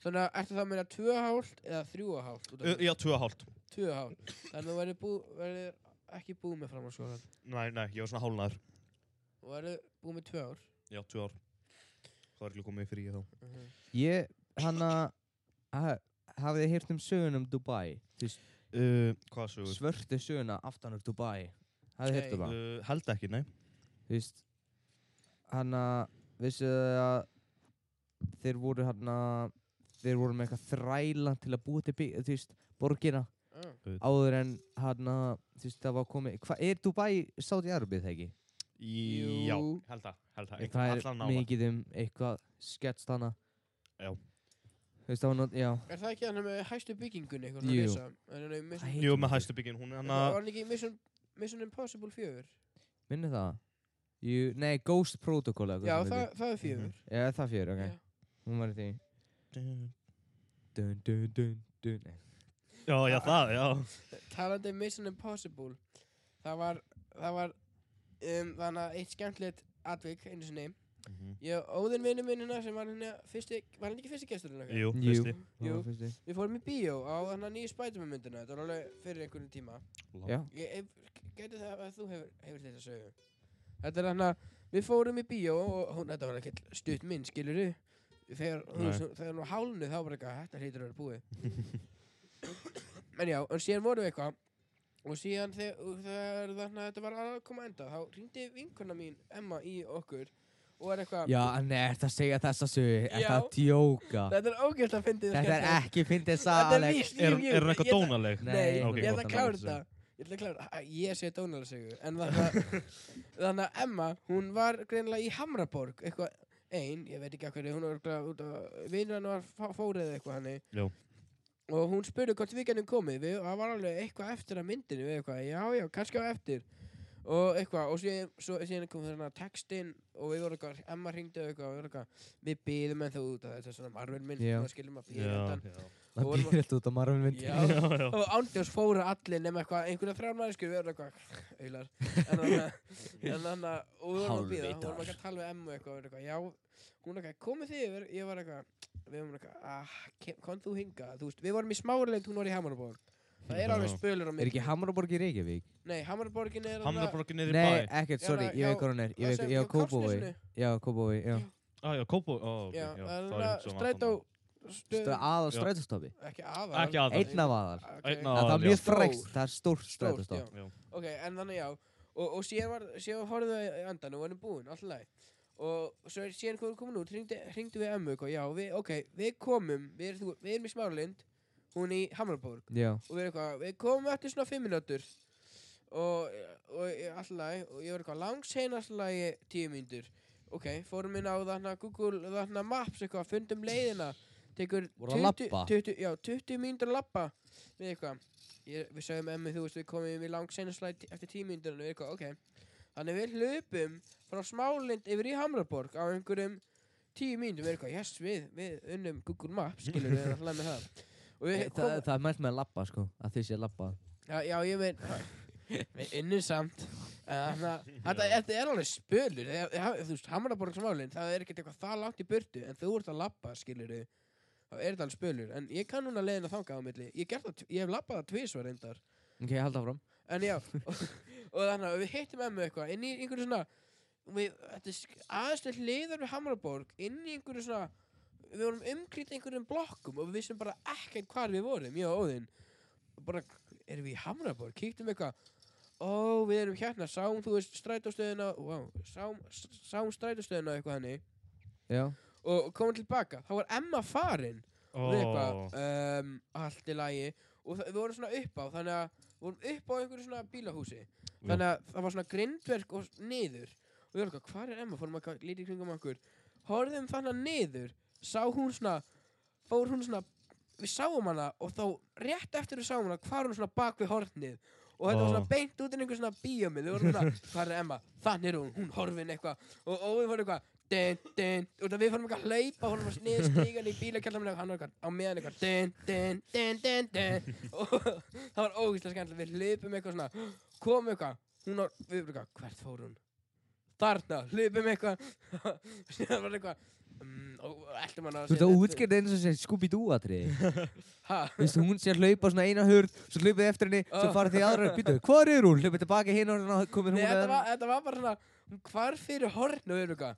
Speaker 3: þannig að ertu það að meina tvö og hálft eða þrjú og hálft út af
Speaker 2: uh,
Speaker 3: því?
Speaker 2: já, tvö og hálft.
Speaker 3: tvö og hálft þannig að þú verður bú, verður ekki búið með framhaldsskólan
Speaker 2: Nei, nei, ég var svona hálnaður.
Speaker 3: og verður búið með tvö ár
Speaker 2: Já, tvö ár. Það var ekki komið í fríi þá.
Speaker 3: uh -huh.
Speaker 1: Ég, hanna, hafið þið heyrt um sögun um Dubai, þú veist,
Speaker 2: Uh, hvað sögur?
Speaker 1: svörtu söguna aftan úr Dubai, hafið þið heyrt um það?
Speaker 2: Uh, held ekki, nei.
Speaker 1: Þú veist, hanna, vissuð þið að þeir voru hanna, þeir voru með eitthvað þræla til að búa til, bygg- þú veist, borgina.
Speaker 3: Ah.
Speaker 1: áður en hann þú veist það var komið hvað er Dubai sátt í Arabið það ekki
Speaker 2: Í,
Speaker 3: Jú.
Speaker 2: já, held það, held það.
Speaker 1: það
Speaker 2: Einhvern allan
Speaker 1: er
Speaker 2: náða.
Speaker 1: mikið um eitthvað sketst hana
Speaker 2: Já.
Speaker 1: þú veist það var nátt já
Speaker 3: er það ekki hann með hæstu byggingunni eitthvað
Speaker 1: Jú.
Speaker 3: svona risa en hann er Mission-
Speaker 2: Jú, með hæstu byggin, hún er hann
Speaker 3: var
Speaker 2: að...
Speaker 3: hann ekki Mission, Mission Impossible 4
Speaker 1: minni það Jú, nei Ghost Protocol eða hvað
Speaker 3: já
Speaker 1: sem
Speaker 3: það,
Speaker 1: heitir.
Speaker 3: það er 4
Speaker 1: já það fjör Mhm, ok
Speaker 3: Já.
Speaker 1: hún var í því dun dun dun dun nei.
Speaker 2: Já, já, það, já.
Speaker 3: talandi um Mission Impossible það var það var um, þannig að eitt skemmtilegt atvik einu sinni
Speaker 1: Mhm.
Speaker 3: ég og óðinn vinnu minn hérna sem var hérna fyrsti var hann ekki fyrsti gesturinn okkar?
Speaker 2: Jú,
Speaker 1: Jú.
Speaker 2: fyrsti.
Speaker 1: Það
Speaker 3: Jú.
Speaker 1: var fyrst í.
Speaker 3: Við fórum í bíó á þannig nýju Spiderman myndina, þetta var alveg fyrir einhvern tíma.
Speaker 1: já
Speaker 3: Ég geti það að þú hefur, hefur þetta sögu. Þetta er þannig að við fórum í bíó og hún, þetta var ekkert stutt minn, skilur þú? Þegar þú
Speaker 2: Nei.
Speaker 3: veist, hún þegar hún var hálnu þá var eitthvað, þetta hlýtur að vera búið. en já, en síðan vorum við eitthvað og síðan þegar, og þegar þannig að þetta var að koma að enda, þá ringdi vinkona mín, Emma, í okkur og er eitthvað,
Speaker 1: já en er það að segja þessa sögu er
Speaker 3: Já.
Speaker 1: það að djóka
Speaker 3: þetta er ógælt að fyndi
Speaker 1: þetta er ekki fyndið
Speaker 3: Þetta er
Speaker 1: saleg
Speaker 3: víst,
Speaker 2: Er,
Speaker 3: jú, jú,
Speaker 2: er hann
Speaker 3: ég
Speaker 2: eitthvað
Speaker 3: ætla-
Speaker 2: dónaleg?
Speaker 3: Nei,
Speaker 1: Nei,
Speaker 2: ok,
Speaker 3: ég
Speaker 1: gott að
Speaker 3: ætla að
Speaker 1: klára
Speaker 3: klára þetta Ég ætla að klára þetta, Æ, ég segi dónalarsögu En þannig að, þannig að Emma, hún var greinilega í Hamraborg Eitthvað ein, ég veit ekki af hverju Hún var greinilega út að vinur hann var fá- fórið eða eitthvað hannig
Speaker 2: Jú.
Speaker 3: Og hún spurði hvort við gennum komið við, og Það var alveg eitthvað eftir að myndinu við eitthvað, Já, já, kannski á eftir og eitthvað og síðan, svo, síðan kom þarna textinn og við vorum eitthvað, Emma ringdi og eitthvað, og við vorum eitthvað, við býðum en þú út að þetta er svona marfinn minn,
Speaker 1: Já.
Speaker 3: svona skilum að býða
Speaker 2: já,
Speaker 3: þetta
Speaker 2: já.
Speaker 1: Það
Speaker 3: vorum
Speaker 1: býr þetta út á marfum
Speaker 3: Já.
Speaker 1: myndi.
Speaker 2: já.
Speaker 3: og ándjós fóru allir nema eitthvað einhverja þrjármæðisku við erum eitthvað auðlar en þannig en þannig og við vorum að býða og
Speaker 1: Hálfvitar.
Speaker 3: vorum ekki að tala við emmu eitthvað og við erum eitthvað já hún er eitthvað komið þið yfir ég var eitthvað við vorum eitthvað ah kem- kom þú hinga þú veist við vorum í smáralind hún var í Hamaraborg það er alveg
Speaker 2: Já.
Speaker 3: spölur á
Speaker 1: Er
Speaker 3: mig
Speaker 1: ekki Hamraborg í Reykjavík?
Speaker 3: nei Hamaraborgin er
Speaker 2: Hamraborgin er í
Speaker 1: Nei,
Speaker 2: bæ
Speaker 1: ekkert,
Speaker 3: Já,
Speaker 1: sorry,
Speaker 3: na-
Speaker 1: ég
Speaker 3: Hérna, já,
Speaker 1: veit hvað hún er. Ég veit,
Speaker 3: það
Speaker 1: já,
Speaker 3: sem-
Speaker 1: Kópavogi.
Speaker 3: Kársnesinu.
Speaker 1: Já, Kópavogi, já.
Speaker 2: ah, já, Kópó ó, ok,
Speaker 3: já
Speaker 2: já, þá er
Speaker 3: það
Speaker 2: ég
Speaker 3: er
Speaker 2: hugsa um
Speaker 3: strætó
Speaker 2: allt
Speaker 1: Stra-
Speaker 3: stöð
Speaker 1: Aðal
Speaker 2: Já.
Speaker 1: strætóstoppi.
Speaker 3: ekki aðal
Speaker 2: Ekki aðal.
Speaker 1: Einn af aðal.
Speaker 3: Ok.
Speaker 2: Einn
Speaker 1: Það
Speaker 2: Aðal,
Speaker 1: er mjög
Speaker 2: já.
Speaker 1: frækt, það er stórt
Speaker 3: Stórt, já.
Speaker 1: strætóstopp.
Speaker 2: Já.
Speaker 3: Ok, en þannig já Og, og síðan, var, síðan horfðu við í andan og varum búin, alltaf leið Og svo er síðan hvað við komin út, hringdi, hringdi við emmu eitthvað Já, við, ok, við komum, við, er, þú, við erum í Smáralind Hún í Hamraborg
Speaker 1: Já.
Speaker 3: Og við erum eitthvað, við komum eftir svona fimm minútur Og, og alltaf leið Og ég var eitthvað langs hein alltaf leið tíu mínútur Ok, fórum inn á þarna Google, þarna Maps eitthvað, fundum leiðina Tekur
Speaker 1: Voru að
Speaker 3: 20
Speaker 1: labba?
Speaker 3: 20, já, 20 mínútur að labba við eitthvað ég, við sögum emmi þú veist við komum í langseinaslæð eftir tímyndur og við eitthvað ok þannig við hlupum frá Smálind yfir í Hamraborg á einhverjum tíu mínútur við eitthvað yes við við unnum Google Maps skilur við erum alltaf með það og við
Speaker 1: Þa,
Speaker 3: komum
Speaker 1: það er mælt með að labba, sko. Að þið sé að labba.
Speaker 3: já, já ég veit við unnum samt En þarna- þetta þetta er alveg spölur Þegar- þegar- þú veist Hamraborg Smálind það er ekkert eitthvað það langt í burtu en þú ert að labba skilur við þá er þetta alveg spölur en ég kann núna leiðina þangað á milli ég, hef gert það, tv- ég hef labbað það tvísvar reyndar
Speaker 1: Ok, hald áfram.
Speaker 3: En já, og, og þannig að við hittum emmu eitthvað inn í einhverju svona við, þetta er sk- aðeins til hliðar við Hamaraborg inn í einhverju svona við vorum umkrýtt einhverjum blokkum og við vissum bara ekkert hvar við vorum, ég og Óðinn og bara, erum við í Hamaraborg? Kíktum eitthvað, ó, við erum hérna sáum, þú veist, strætóstöðina wow, sáum, s- sáum strætóstöðina og eitthvað hannig
Speaker 1: Já.
Speaker 3: og komum tilbaka, þá var Emma farin
Speaker 2: Ó.
Speaker 3: við eitthvað um, allt í lagi og það- við vorum svona upp á þannig að við vorum upp á einhverju svona bílahúsi þannig að það var svona grindverk og s- niður og við vorum eitthvað, hvað er Emma, fórum að lítið kringum okkur horfðum þannig um niður sá hún svona fór hún svona, við sáum hana og þá rétt eftir við sáum hana hvar hún svona bak við hornið og þetta var
Speaker 2: Ó.
Speaker 3: svona beint út inn einhver svona bíómið við vorum svona, hvað er Emma, þannig er hún hún horfin eitthvað og, og við vorum eitthvað din, din, og það við fórum eitthvað að hlaupa hún var sniður stígan í bílakjallaminu og hann var eitthvað á meðan eitthvað din, din, din, din, din og það var ógeðslega skemmtilega við hlupum eitthvað svona, komum eitthvað hún var, við vorum eitthvað, hvert fór hún þarna, hlupum eitthvað það var eitthvað mm, og eltum hann að
Speaker 1: Þú veist að útskýrði eins og segir Scooby-Doo-atriði.
Speaker 3: ha,
Speaker 1: Þú veist, hún sé að hlaupa svona eina hurð, svo hlaupið eftir henni, svo
Speaker 3: Ah.
Speaker 1: farið því aðra, býtu, hvað er hún? Hlaupið tilbaka hinn og hérna komið hún
Speaker 3: Nei, þetta
Speaker 1: að
Speaker 3: var, þetta var bara svona, hún hvar fyrir horn og við erum eitthvað,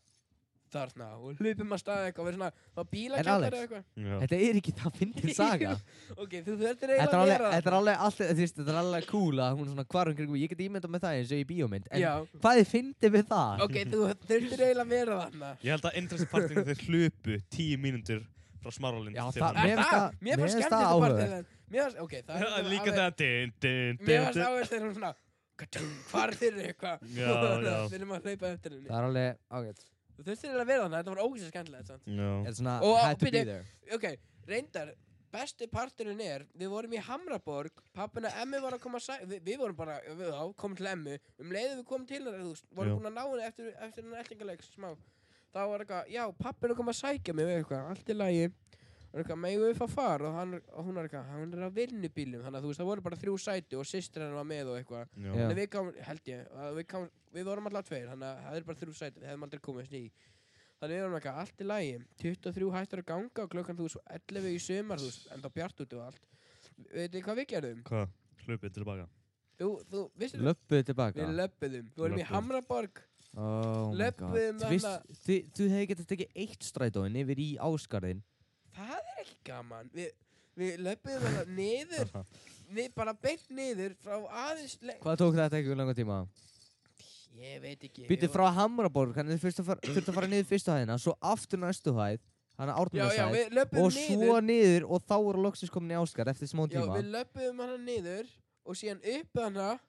Speaker 3: þarna, og hlupum að staða eitthvað, og við erum svona, þá bílakjallar
Speaker 1: Alex,
Speaker 3: eða eitthvað.
Speaker 2: Já.
Speaker 1: Þetta er ekki það fyndin saga.
Speaker 3: Ok, þú
Speaker 1: Þetta
Speaker 3: þurftir
Speaker 1: er
Speaker 3: eiginlega að
Speaker 1: alveg,
Speaker 3: vera
Speaker 1: þetta er alveg allt, þú veist, þetta er alveg cool að hún svona hvar hún kringum, ég get ímyndað með það eins og í bíómynd, en
Speaker 3: Já,
Speaker 1: hvað þið fyndið við það?
Speaker 3: ok, þú þurftir eiginlega að vera þarna.
Speaker 2: Ég held að interest partinu þeir hlupu tíu mínútur frá Smáralind
Speaker 1: Já,
Speaker 2: til
Speaker 1: það-
Speaker 2: Hamraborg.
Speaker 1: Mér finnst það- mér finnst
Speaker 3: Ah, mér fannst skemmt
Speaker 1: það
Speaker 3: þetta bara
Speaker 1: áhugavert.
Speaker 3: þegar, mér fannst, ok, það er
Speaker 2: Það
Speaker 3: alveg-
Speaker 2: Líka
Speaker 3: alveg-
Speaker 2: það din, din,
Speaker 3: Mér
Speaker 2: din,
Speaker 3: fannst
Speaker 2: din.
Speaker 3: áherslu þegar hún svona, katum, hvar fyrir eitthvað,
Speaker 2: Já, já.
Speaker 3: við erum að hlaupa eftir henni.
Speaker 1: Það er alveg, ok,
Speaker 3: Þú þurftir eiginlega að vera þarna, þetta var ógeðslega skemmtilegt, sant?
Speaker 2: Já.
Speaker 1: þetta er svona,
Speaker 3: Og- og
Speaker 1: had to be
Speaker 3: bíddu,
Speaker 1: there.
Speaker 3: ok, reyndar besti parturinn er, við vorum í Hamraborg pappina Emmi var að koma að sæ við, við vorum bara, við á, komum til Emmi um leiðum við komum til hennar, þú veist,
Speaker 2: Já.
Speaker 3: vorum búin að ná henni eftir, eftir hennar eltingaleik smá, þá var eitthvað, já, pappin er að koma að sækja mig, við eitthvað, allt í lagi og eitthvað, megum við fá far og, hann, og hún er eitthvað, hann er á vinnubílum þannig að þú veist, það voru bara þrjú sæti og systir hennar var með og eitthvað
Speaker 1: Já.
Speaker 3: Nei, við komum, held ég, að við, komum, við vorum alltaf tveir, þannig að það er bara þrjú sæti, við hefum aldrei komist í. Þannig við vorum eitthvað, allt í lagi, 23 hættur að ganga og klokkan þú veist, 11 í sumar, þú veist, enda bjart út og allt. Veitu þið hvað við gerðum?
Speaker 2: Hvað? Hlupið tilbaka.
Speaker 3: Þú, þú, vissir
Speaker 1: Löppuð tilbaka.
Speaker 3: Við löppuðum, við vorum í
Speaker 2: Löbbuðum.
Speaker 3: Hamraborg,
Speaker 1: Oh my god.
Speaker 3: löbbuðum
Speaker 1: Þú veist,
Speaker 3: þarna-
Speaker 1: þið- Þú hefði getið tekið eitt strætóin yfir í Ásgarðin.
Speaker 3: það er ekki gaman. Við, við löppuðum þarna niður, nið, bara beint niður frá aðeins lengt.
Speaker 1: Hvað tók þetta ekki langa tíma?
Speaker 3: Ég veit ekki. við
Speaker 1: Býttu
Speaker 3: vorum-
Speaker 1: frá Hamraborg, hann þurfti að fara, þurfti að fara niður fyrstu hæðina, svo aftur næstu hæð, hann að
Speaker 3: Já, já,
Speaker 1: Árnmjörnshæð,
Speaker 3: við löppuðum
Speaker 1: og
Speaker 3: niður.
Speaker 1: svo niður og þá voru loksins komin í Ásgarð eftir smá
Speaker 3: Já,
Speaker 1: tíma.
Speaker 3: við löpum hana niður og síðan upp hana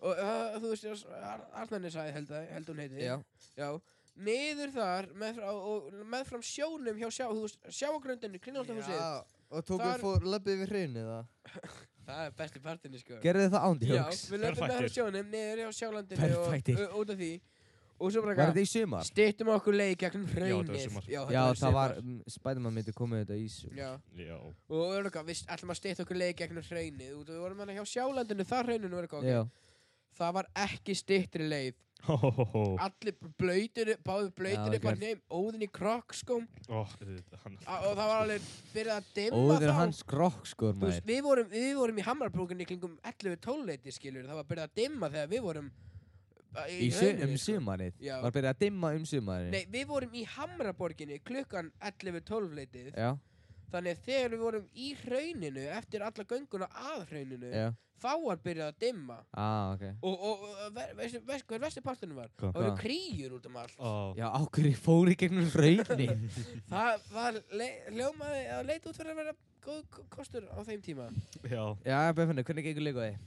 Speaker 3: og uh, þú veist, Ar Arnarni sagði held, að- held hún heiti. Já. Niður þar meðfram, og meðfram sjónum hjá sjá, þú veist, sjáagröndinu, kringlátafhúsið.
Speaker 4: og tóku
Speaker 3: Þar-
Speaker 4: fór, löpið við hraunið það
Speaker 3: það er besti partinni sko
Speaker 1: Gerðu þið það
Speaker 3: Já,
Speaker 1: ándjóks?
Speaker 3: við löfum með
Speaker 2: Perfættir.
Speaker 3: frá sjónum niður á sjálandinu og,
Speaker 1: Perfættir.
Speaker 3: og, út af því og svo bara
Speaker 1: Var
Speaker 3: eitthvað,
Speaker 1: þetta í sumar?
Speaker 3: stýttum okkur leið
Speaker 2: þetta
Speaker 3: gegn
Speaker 2: var
Speaker 3: hraunir
Speaker 2: sumar.
Speaker 3: Já,
Speaker 1: Já,
Speaker 3: þetta
Speaker 1: það var,
Speaker 3: sumar.
Speaker 1: mm, Spiderman myndi komið þetta í sumar.
Speaker 3: Já,
Speaker 2: Já.
Speaker 3: og við vorum eitthvað, við ætlum að stýtt okkur leið gegn hraunir út og við vorum hérna hjá sjálandinu, það hrauninu var eitthvað,
Speaker 1: Já,
Speaker 3: ok, það var ekki stýttri leið,
Speaker 2: Hó, hó, hó, hó.
Speaker 3: allir blöytir, báðu blöytir
Speaker 1: Já,
Speaker 3: upp á
Speaker 1: ok.
Speaker 3: neym, óðin í krokkskóm
Speaker 2: Ó, auðvitað, hann-
Speaker 3: og og það var alveg byrjað að dimma
Speaker 1: óður
Speaker 3: þá.
Speaker 1: hans grokk sko,
Speaker 3: Þú veist,
Speaker 1: maður.
Speaker 3: við vorum, við vorum í Hammarbrúkinni kringum 11-12 leiti skilur, það var byrjað að dimma þegar við vorum uh,
Speaker 1: Í su
Speaker 3: hrauninu,
Speaker 1: um
Speaker 3: sko.
Speaker 1: sumarið.
Speaker 3: Já.
Speaker 1: Var byrjað að dimma um sumarið.
Speaker 3: Nei, við vorum í Hamraborginni klukkan 11-12 leitið
Speaker 1: Já,
Speaker 3: Þannig að þegar við vorum í hrauninu eftir alla gönguna að hrauninu
Speaker 1: já.
Speaker 3: þá var byrjað að dimma
Speaker 1: Ah, ok.
Speaker 3: og, og, og ver, veistu, veistu hver vesti parturinn var?
Speaker 2: Hvað?
Speaker 3: Það voru
Speaker 1: Hvað?
Speaker 3: kríur út um allt
Speaker 2: Ó,
Speaker 1: Já, ákveður ég fór í gegnum raunin.
Speaker 3: Það var le- hljómaði að leita út fyrir að vera góð k- kostur á þeim tíma
Speaker 2: já.
Speaker 1: Já, Böfnir, hvernig gengur leikaði?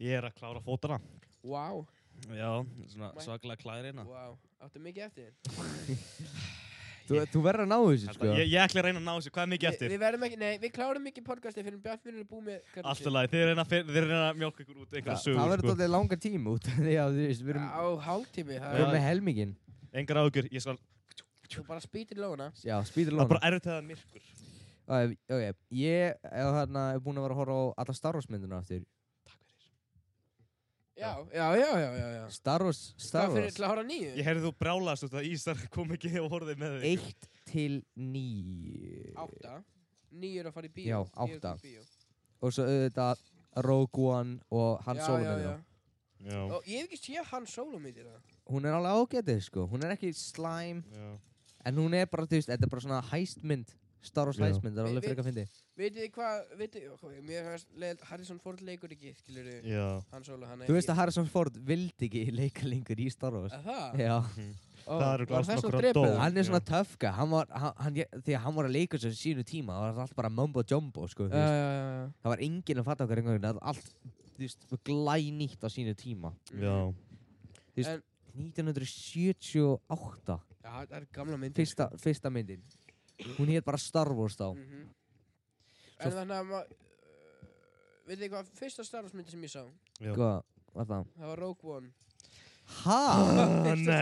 Speaker 2: Ég er að klára fótana.
Speaker 3: Vá,
Speaker 2: Já, svona hérna.
Speaker 3: Mæ-
Speaker 2: svaklega klærina.
Speaker 3: vá, áttu mikið eftir þér?
Speaker 1: Þú, þú verður að ná þessu, sko.
Speaker 2: Ég, ég ætla að reyna að ná þessu, hvað er mikið
Speaker 3: Við,
Speaker 2: eftir?
Speaker 3: við verðum ekki, nei, við klárum ekki podcastið fyrir Bjartminn er búið með kallið
Speaker 2: Alltaf lagi, þeir reyna, að fer- þeir reyna að mjölka ykkur út
Speaker 1: Þa,
Speaker 2: einhverja
Speaker 1: það
Speaker 2: sögur,
Speaker 1: verður
Speaker 2: sko.
Speaker 1: dálítið langar tíma út af því að þú veist, við erum
Speaker 3: Á hálftími, það
Speaker 1: við erum
Speaker 2: Já.
Speaker 3: er,
Speaker 1: með helmingin.
Speaker 2: Engar ágjur, ég skal,
Speaker 3: þú bara spýtir lóna
Speaker 1: Já, spýtur
Speaker 2: það er
Speaker 1: lóna.
Speaker 2: bara erfitt að það er myrkur.
Speaker 1: Uh, ok, ég er þarna er búinn að vera að horfa á alla Star Wars myndina aftur.
Speaker 3: Já, já, já, já, já, já.
Speaker 1: Star Wars, Star
Speaker 3: Hvað fyrir
Speaker 1: Wars,
Speaker 3: til að hóra nýju?
Speaker 2: Ég heyrði þú brjálast út að Ísar kom ekki og horfið með þig.
Speaker 1: 1 til 9.
Speaker 3: Átta. Nýju er að fara í bíó.
Speaker 1: Já,
Speaker 3: níu er að
Speaker 1: átta.
Speaker 3: fara í bíó.
Speaker 1: Og svo auðvitað Rogue One og Han
Speaker 3: Já,
Speaker 1: Solo
Speaker 3: já,
Speaker 1: myndina.
Speaker 3: já.
Speaker 2: Já,
Speaker 3: Og ég hef ekki séð hann solo myndið það.
Speaker 1: Hún er alveg ágætið, sko. Hún er ekki slæm,
Speaker 2: já.
Speaker 1: en hún er bara, þú veist, þetta er bara svona hæstmynd. Star Wars
Speaker 2: Já.
Speaker 1: hæstmynd, það er
Speaker 3: Vi-
Speaker 1: alveg
Speaker 3: við-
Speaker 1: frekar fyndi.
Speaker 3: Vitið þið hvað, vitið, ok, mér hefast leðilt, Harrison Ford leikur ekki, skilur þið,
Speaker 2: Já.
Speaker 3: hann solo, hann
Speaker 1: Þú veist að Harrison Ford vildi ekki leika lengur í Star Wars.
Speaker 3: Það?
Speaker 1: Já.
Speaker 3: Ó,
Speaker 2: Það eru
Speaker 3: var
Speaker 2: glas
Speaker 3: þess að
Speaker 2: nokkur að
Speaker 3: drepa
Speaker 2: dó.
Speaker 3: það?
Speaker 1: Hann er svona töfka, hann var, hann, hann, því að hann var að leika þessu sínu tíma, það var allt bara mumbo jumbo, sko, þú
Speaker 3: Já,
Speaker 1: veist.
Speaker 3: já, já,
Speaker 1: Það var enginn að fatta okkar einhvern veginn, það var allt, þú veist, glænýtt á sínu tíma.
Speaker 3: já.
Speaker 2: Já.
Speaker 1: 1978,
Speaker 3: Já, það er gamla myndið.
Speaker 1: fyrsta, fyrsta myndin. Hún hétt bara Star Wars þá.
Speaker 3: Mm -hmm.
Speaker 1: Svo-
Speaker 3: En þannig að maður, vitið þið hvað, fyrsta Star Wars myndið sem ég sá,
Speaker 2: Já.
Speaker 1: Hvað, hvað Sko, það?
Speaker 3: það var Rogue One.
Speaker 1: Ha?
Speaker 2: Ah,
Speaker 3: Fyrstu
Speaker 2: Nei.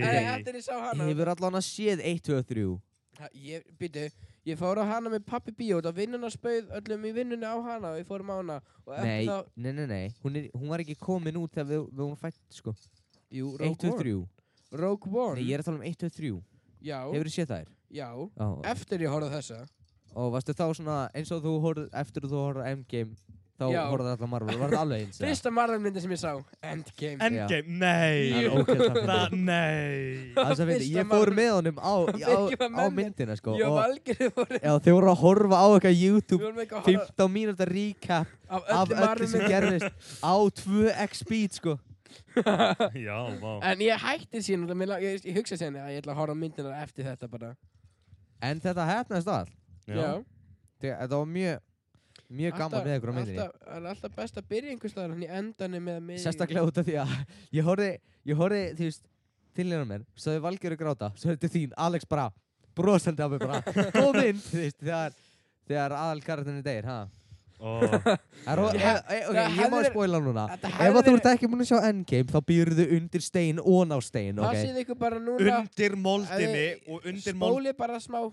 Speaker 3: Nei, eftir ég sá hana.
Speaker 1: Hefur allan að séð 1, 2 og 3.
Speaker 3: Ha, Ég, býtu, ég fór á hana með pappi bíót og vinnuna spauð öllum í vinnunni á hana og við fórum á hana og eftir
Speaker 1: Nei,
Speaker 3: þá,
Speaker 1: nei, nei, nei, hún, er, hún var ekki komin út þegar við, við hún fætt, sko.
Speaker 3: jú,
Speaker 1: 1, 2 og
Speaker 3: Rogue One
Speaker 1: 3.
Speaker 3: Rogue One,
Speaker 1: Nei, ég er að tala um 1, 2 og 3.
Speaker 3: já,
Speaker 1: Hefur séð þær?
Speaker 3: já,
Speaker 1: Já.
Speaker 3: eftir ég horfði á þessa
Speaker 1: Og varstu þá svona, eins og þú horfð, eftir þú horfð á Endgame, þá
Speaker 3: Já.
Speaker 1: horfðu allar Marvel, var það alveg eins? eða?
Speaker 3: fyrsta Marvel myndi sem ég sá, Endgame
Speaker 2: Endgame, nei.
Speaker 1: Það er
Speaker 3: Jú.
Speaker 1: ógeðslega fyndið.
Speaker 2: Það, nei.
Speaker 1: Það er svo fyndið,
Speaker 3: Fyrsta
Speaker 1: ég fór
Speaker 3: Marvel.
Speaker 1: með honum á, á,
Speaker 3: Ég var
Speaker 1: á
Speaker 3: með mér.
Speaker 1: myndina, sko.
Speaker 3: ég og
Speaker 1: Og,
Speaker 3: Valgerið voru,
Speaker 1: já, þau voru að horfa á eitthvað
Speaker 3: við
Speaker 1: YouTube
Speaker 3: vorum ekki að horfa
Speaker 1: 15 mínúta recap
Speaker 3: af
Speaker 1: af
Speaker 3: öllu
Speaker 1: öllu
Speaker 3: Marvel
Speaker 1: sem
Speaker 3: myndi
Speaker 1: gerðist á 2x speed, sko.
Speaker 2: Já, vá.
Speaker 3: en ég hætti sín, og það- mér lang- ég, ég hugsa sérni að ég ætla að horfa á myndina eftir þetta bara,
Speaker 1: En þetta hefnast all.
Speaker 2: Já.
Speaker 1: Þegar þetta var mjög, mjög gaman við ykkur á myndinni.
Speaker 3: alltaf, það er alltaf best að byrja einhvers staðar hann í endanum með með
Speaker 1: Sérstaklega út af því að ég horfði, ég horfði, þú veist, til hérna mér, svo þau valgjör að gráta, svo þetta þín, Alex bara, brosandi af mig bara, góð mynd, þú veist, þegar, þegar aðalkarðinu deyr, ha?
Speaker 2: Ó,
Speaker 1: Það er,
Speaker 3: Já,
Speaker 1: hef, ok, ég
Speaker 3: það
Speaker 1: má
Speaker 3: hefði verið-
Speaker 1: spóila núna.
Speaker 3: Þetta
Speaker 1: Ef
Speaker 3: hefði
Speaker 1: að þú
Speaker 3: verið-
Speaker 1: ert ekki búin að sjá Endgame, þá býrðu undir stein og ná stein,
Speaker 3: það
Speaker 1: ok?
Speaker 3: séð ykkur bara núna
Speaker 2: Undir moldinni
Speaker 3: Eh,
Speaker 2: og undir mold...
Speaker 3: spóli bara smá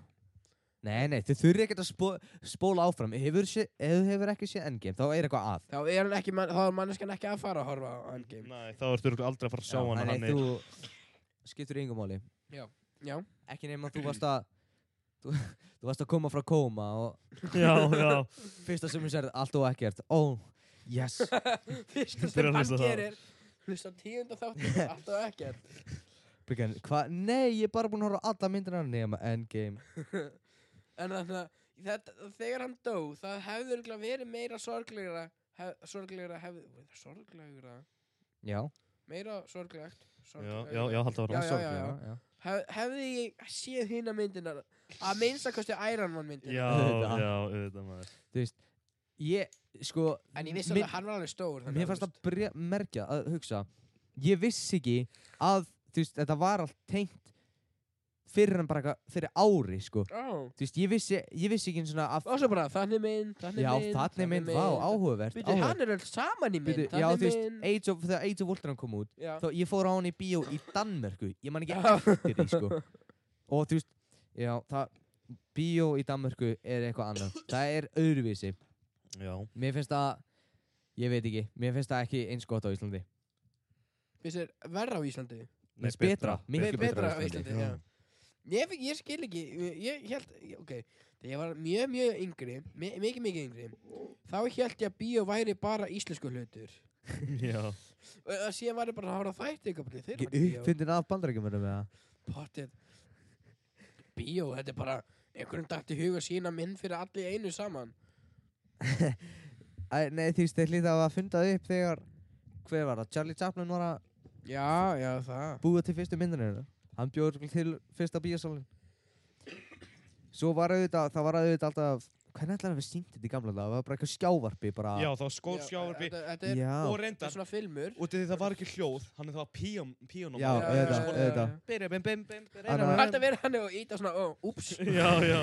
Speaker 1: Nei, nei, þau þurfi ekkert að spó, spóla áfram. Hefur, sé, ef þú hefur ekki séð Endgame, þá er eitthvað að.
Speaker 3: þá er, hann ekki, man- þá er manneskan ekki að fara að horfa á Endgame
Speaker 2: Nei, þá ertu örugglega aldrei að fara að sjá hann.
Speaker 1: þannig
Speaker 2: hann er-
Speaker 1: þú skiptur yngum máli.
Speaker 3: já,
Speaker 1: Ekki nema þú varst að, þú, þú varst að koma frá koma og
Speaker 2: Já, já.
Speaker 1: Fyrsta sem ég sér allt og ekkert Ó, yes
Speaker 3: fyrsta
Speaker 2: Byrjar
Speaker 3: sem
Speaker 2: að
Speaker 3: hann
Speaker 2: hlusta þá.
Speaker 3: gerir hlusta á tíunda þáttum alltaf ekkert
Speaker 1: Byggan, hva? Nei, ég er bara búinn að horfa á alla myndina nema Endgame
Speaker 3: en þannig að þetta, þegar hann dó það hefði örugglega verið meira sorglegra hef, sorglegra hefði sorglegra,
Speaker 1: Já,
Speaker 3: meira sorglegt
Speaker 2: Já,
Speaker 3: sorglegra.
Speaker 2: já, já, halda ára.
Speaker 3: Já,
Speaker 1: já,
Speaker 3: já, já.
Speaker 1: já.
Speaker 3: Hef, hefði ég séð hina myndina að minnstakosti Iron Man myndina
Speaker 2: Já,
Speaker 1: Auðvitað.
Speaker 2: já, auðvitað maður.
Speaker 1: Ég, sko
Speaker 3: en ég vissi
Speaker 1: mér-
Speaker 3: alveg að hann var alveg stór þannig
Speaker 1: Mér
Speaker 3: að,
Speaker 1: fannst
Speaker 3: þú
Speaker 1: að byrja, merkja að hugsa Ég vissi ekki að þú veist, þetta var allt tengt fyrir hann bara eitthvað- fyrir ári sko
Speaker 3: Ó,
Speaker 1: þú veist ég vissi, ég vissi ekki einu svona af,
Speaker 3: og svo bara þannig mynd, þannig
Speaker 1: já
Speaker 3: mynd
Speaker 1: þannig mynd, vá áhugavert,
Speaker 3: Býtu,
Speaker 1: áhugavert.
Speaker 3: hann er öll saman í mynd,
Speaker 1: Bíddu,
Speaker 3: þannig
Speaker 1: já þú veist
Speaker 3: mynd
Speaker 1: Age of, þegar Age of Ultron kom út
Speaker 3: Já.
Speaker 1: þá ég fór á hann í bíó í Danmörku ég man ekki
Speaker 3: Já.
Speaker 1: eftir því sko og þú veist já það bíó í Danmörku er eitthvað annað það er öðruvísi
Speaker 2: Já.
Speaker 1: mér finnst það ég veit ekki mér finnst það ekki eins gott á Íslandi
Speaker 3: Finnst þér verra á Íslandi?
Speaker 2: Nei,
Speaker 1: Finnst betra, mikið
Speaker 2: Mikið
Speaker 3: betra á
Speaker 2: á Íslandi,
Speaker 3: Íslandi, já. Ég, finn- ég skil ekki, ég- ég held, ok, þegar ég var mjög, mjög yngri, mi- mikið, mikið yngri, þá held ég að bíó væri bara íslensku hlutur.
Speaker 2: Já.
Speaker 3: Og og síðan var ég bara að hafa þætti eitthvað, bara, þeir eru
Speaker 1: ekki
Speaker 3: bara bíó,
Speaker 1: uppfyndin af bandarækjumunum með það
Speaker 3: potið. Bíó, þetta er bara, einhverjum dætti huga sína mynd fyrir allir einu saman.
Speaker 1: Æ, nei þú veist þeir hlýta að hafa fundað upp þegar hver var það Charlie Chaplin var að
Speaker 3: Já, já, það.
Speaker 1: búa til fyrstu myndinu hérna. hann bjóður til fyrsta bíósalinn svo var auðvitað það var auðvitað alltaf hvernig ætlaði að við sýndi þetta í gamla dag það var bara eitthvað skjávarpi bara
Speaker 2: Já, það var
Speaker 3: Já,
Speaker 2: skórsjávarbi
Speaker 3: Þetta, þetta er,
Speaker 1: já.
Speaker 2: og
Speaker 3: þetta er
Speaker 2: reyndar.
Speaker 3: svona filmur.
Speaker 2: Og því það var ekki hljóð, hann það var píjón, píjónum.
Speaker 1: Já, auðvitað,
Speaker 3: já,
Speaker 1: auðvitað.
Speaker 3: já.
Speaker 2: Byrja, bim, bim, bim, bim,
Speaker 1: Anna-
Speaker 3: Það ætti að vera hann og íta svona, ó, úps.
Speaker 2: Já, já.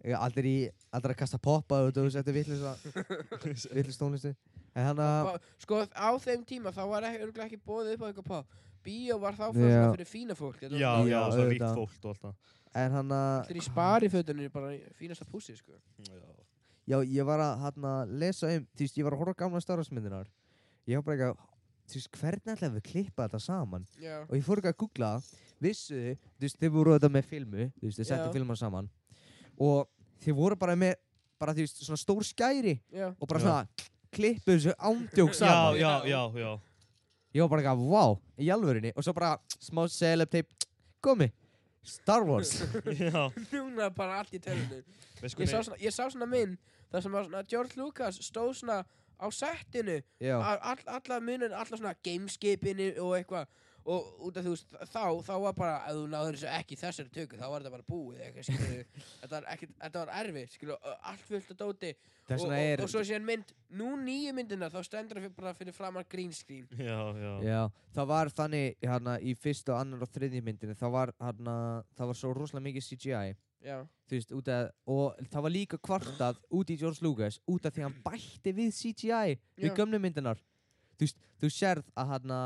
Speaker 1: Ég er aldrei, aldrei að kasta poppa og þú settir vitlis tónlistu en hann að
Speaker 3: Ba- Sko, á þeim tíma þá var ekki, örugglega ekki bóðið upp á eitthvað pop. Bíó var
Speaker 1: Já.
Speaker 3: þá fyrir, svona fyrir fína fólk. Þetta var
Speaker 2: Já,
Speaker 3: svona-
Speaker 1: Já,
Speaker 2: já, og svona ríkt
Speaker 1: auðvitað.
Speaker 2: fólk og allt það.
Speaker 1: en hann að
Speaker 3: Allir í sparifötunni er bara í fínasta pússi, sko.
Speaker 1: já ég var að hann að lesa um þú veist ég var að horfa á gamla starfsmyndinar ég var bara ekki að þú veist hvernig ætlaði við klippa þetta saman
Speaker 3: Já.
Speaker 1: og ég fór ekki að googla vissu þið þú veist þið voru þetta með filmu þú veist þið
Speaker 3: Já.
Speaker 1: settu filman saman og þið voru bara með bara þú veist svona stór skæri
Speaker 3: Já.
Speaker 1: og bara
Speaker 2: Já.
Speaker 1: svona klippu þessu ándjók
Speaker 2: Já,
Speaker 1: saman
Speaker 2: já, já, já.
Speaker 1: Ég var bara eitthvað, vá, í alvörinni Og svo bara, smá celeb tape Komi, Star Wars
Speaker 2: Já.
Speaker 3: Núna bara allt í tölunni.
Speaker 2: Veist
Speaker 3: Ég sá
Speaker 2: hvernig-
Speaker 3: svona, ég sá svona mynd þar sem var svona George Lucas stóð svona á settinu
Speaker 1: Já,
Speaker 3: a- all, alla munin, alla svona gameskipinu og eitthvað og út af þú veist, þá, þá var bara ef þú náður þessu ekki í þessari tökku, þá var þetta bara búið eitthvað, skilurðu. þetta, var ekki, þetta var erfitt skilu, allt fullt af dóti
Speaker 1: þess
Speaker 3: og, og,
Speaker 1: vegna er
Speaker 3: og svo síðan mynd, nú nýju myndina þá stendur það fyrir- bara fyrir framar green screen
Speaker 2: Já, já.
Speaker 1: Já, það var þannig hana, í fyrsta, annar og þriðji myndinni það var, hana, það var svo rosalega mikið CGI
Speaker 3: já,
Speaker 1: Þú veist, út af Og það var líka kvartað út í George Lucas Út af því hann bætti við CGI
Speaker 3: Já.
Speaker 1: Við gömlu myndinar Þú veist, þú sérð að hann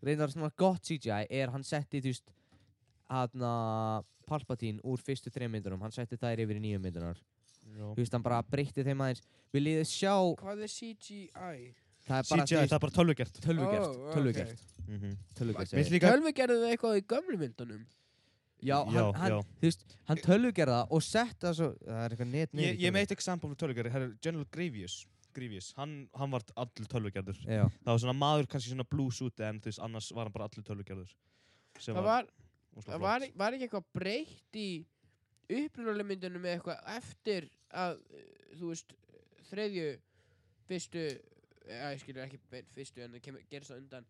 Speaker 1: Reyndar svona gott CGI er hann setti, þú veist Hann Palpatine úr fyrstu þreim myndunum Hann setti þær yfir í nýju myndunar
Speaker 2: já.
Speaker 1: þú veist, hann bara breytti þeim aðeins Vil ég sjá,
Speaker 3: hvað er CGI?
Speaker 1: það er bara
Speaker 2: CGI, það er bara tölvugert.
Speaker 1: tölvugert,
Speaker 3: Ó, ok.
Speaker 1: tölvugert,
Speaker 2: Mhm.
Speaker 1: tölvugert
Speaker 2: Mér
Speaker 1: segir.
Speaker 2: líka...
Speaker 3: Tölvi gerðu þau eitthvað í gömlu myndunum
Speaker 1: Já,
Speaker 2: Já,
Speaker 1: hann, hann,
Speaker 2: já.
Speaker 1: þú veist, hann tölvugerða og setta svo, það er eitthvað net
Speaker 2: Ég, ég meit example fyrir tölvugeri, það er General Grievous. Grievous, hann, hann var allur tölvugerður.
Speaker 1: Já,
Speaker 2: Það var svona maður kannski svona blues úti en þú veist, annars var hann bara allur tölvugerður. Sem
Speaker 3: það var,
Speaker 2: óslega flott.
Speaker 3: það var, var ekki eitthvað breytt í upprunalega myndunum með eitthvað eftir að eh, þú veist þriðju fyrstu eða ég skilur ekki beint fyrstu en það kemur, gerist það undan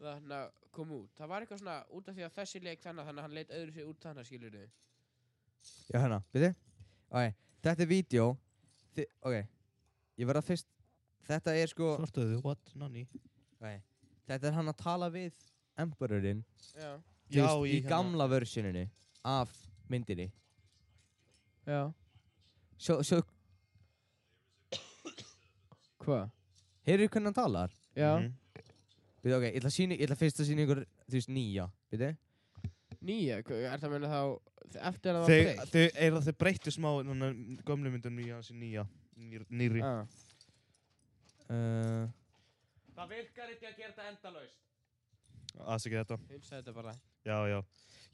Speaker 3: þannig að kom út það var eitthvað svona út af því að þessi leik þannig þannig að hann leit öðru sér út þannig skilur þau
Speaker 1: já, hérna, veitir Ok, þetta er vídeo Þi, Ok, ég verða fyrst Þetta er sko
Speaker 2: Svartuðu, what, nanni?
Speaker 1: okay. Þetta er hann að tala við Emperorinn,
Speaker 3: já,
Speaker 1: þú
Speaker 2: Já,
Speaker 1: veist, í
Speaker 2: í hérna-
Speaker 1: gamla versioninni af myndinni
Speaker 3: já.
Speaker 1: Sjó, sjó,
Speaker 3: hva?
Speaker 1: heyrðu hvernig hann talar?
Speaker 3: já,
Speaker 2: Mhm.
Speaker 1: Við, ok, ég ætla, að sýna, ég ætla fyrst að sína ykkur, þú veist, nýja, við þið?
Speaker 3: nýja hva- er það að meina þá eftir að það var
Speaker 2: Þeir,
Speaker 3: breytt
Speaker 2: þeir, er það þeir breyttu smá núna, gömlu myndunum í hans í nýja, nýr- nýrri.
Speaker 3: Ah.
Speaker 1: Uh,
Speaker 4: Það virkar ekki að gera þetta endalaust.
Speaker 2: Aðsækja þetta.
Speaker 3: Hunsa þetta bara.
Speaker 2: Já, já.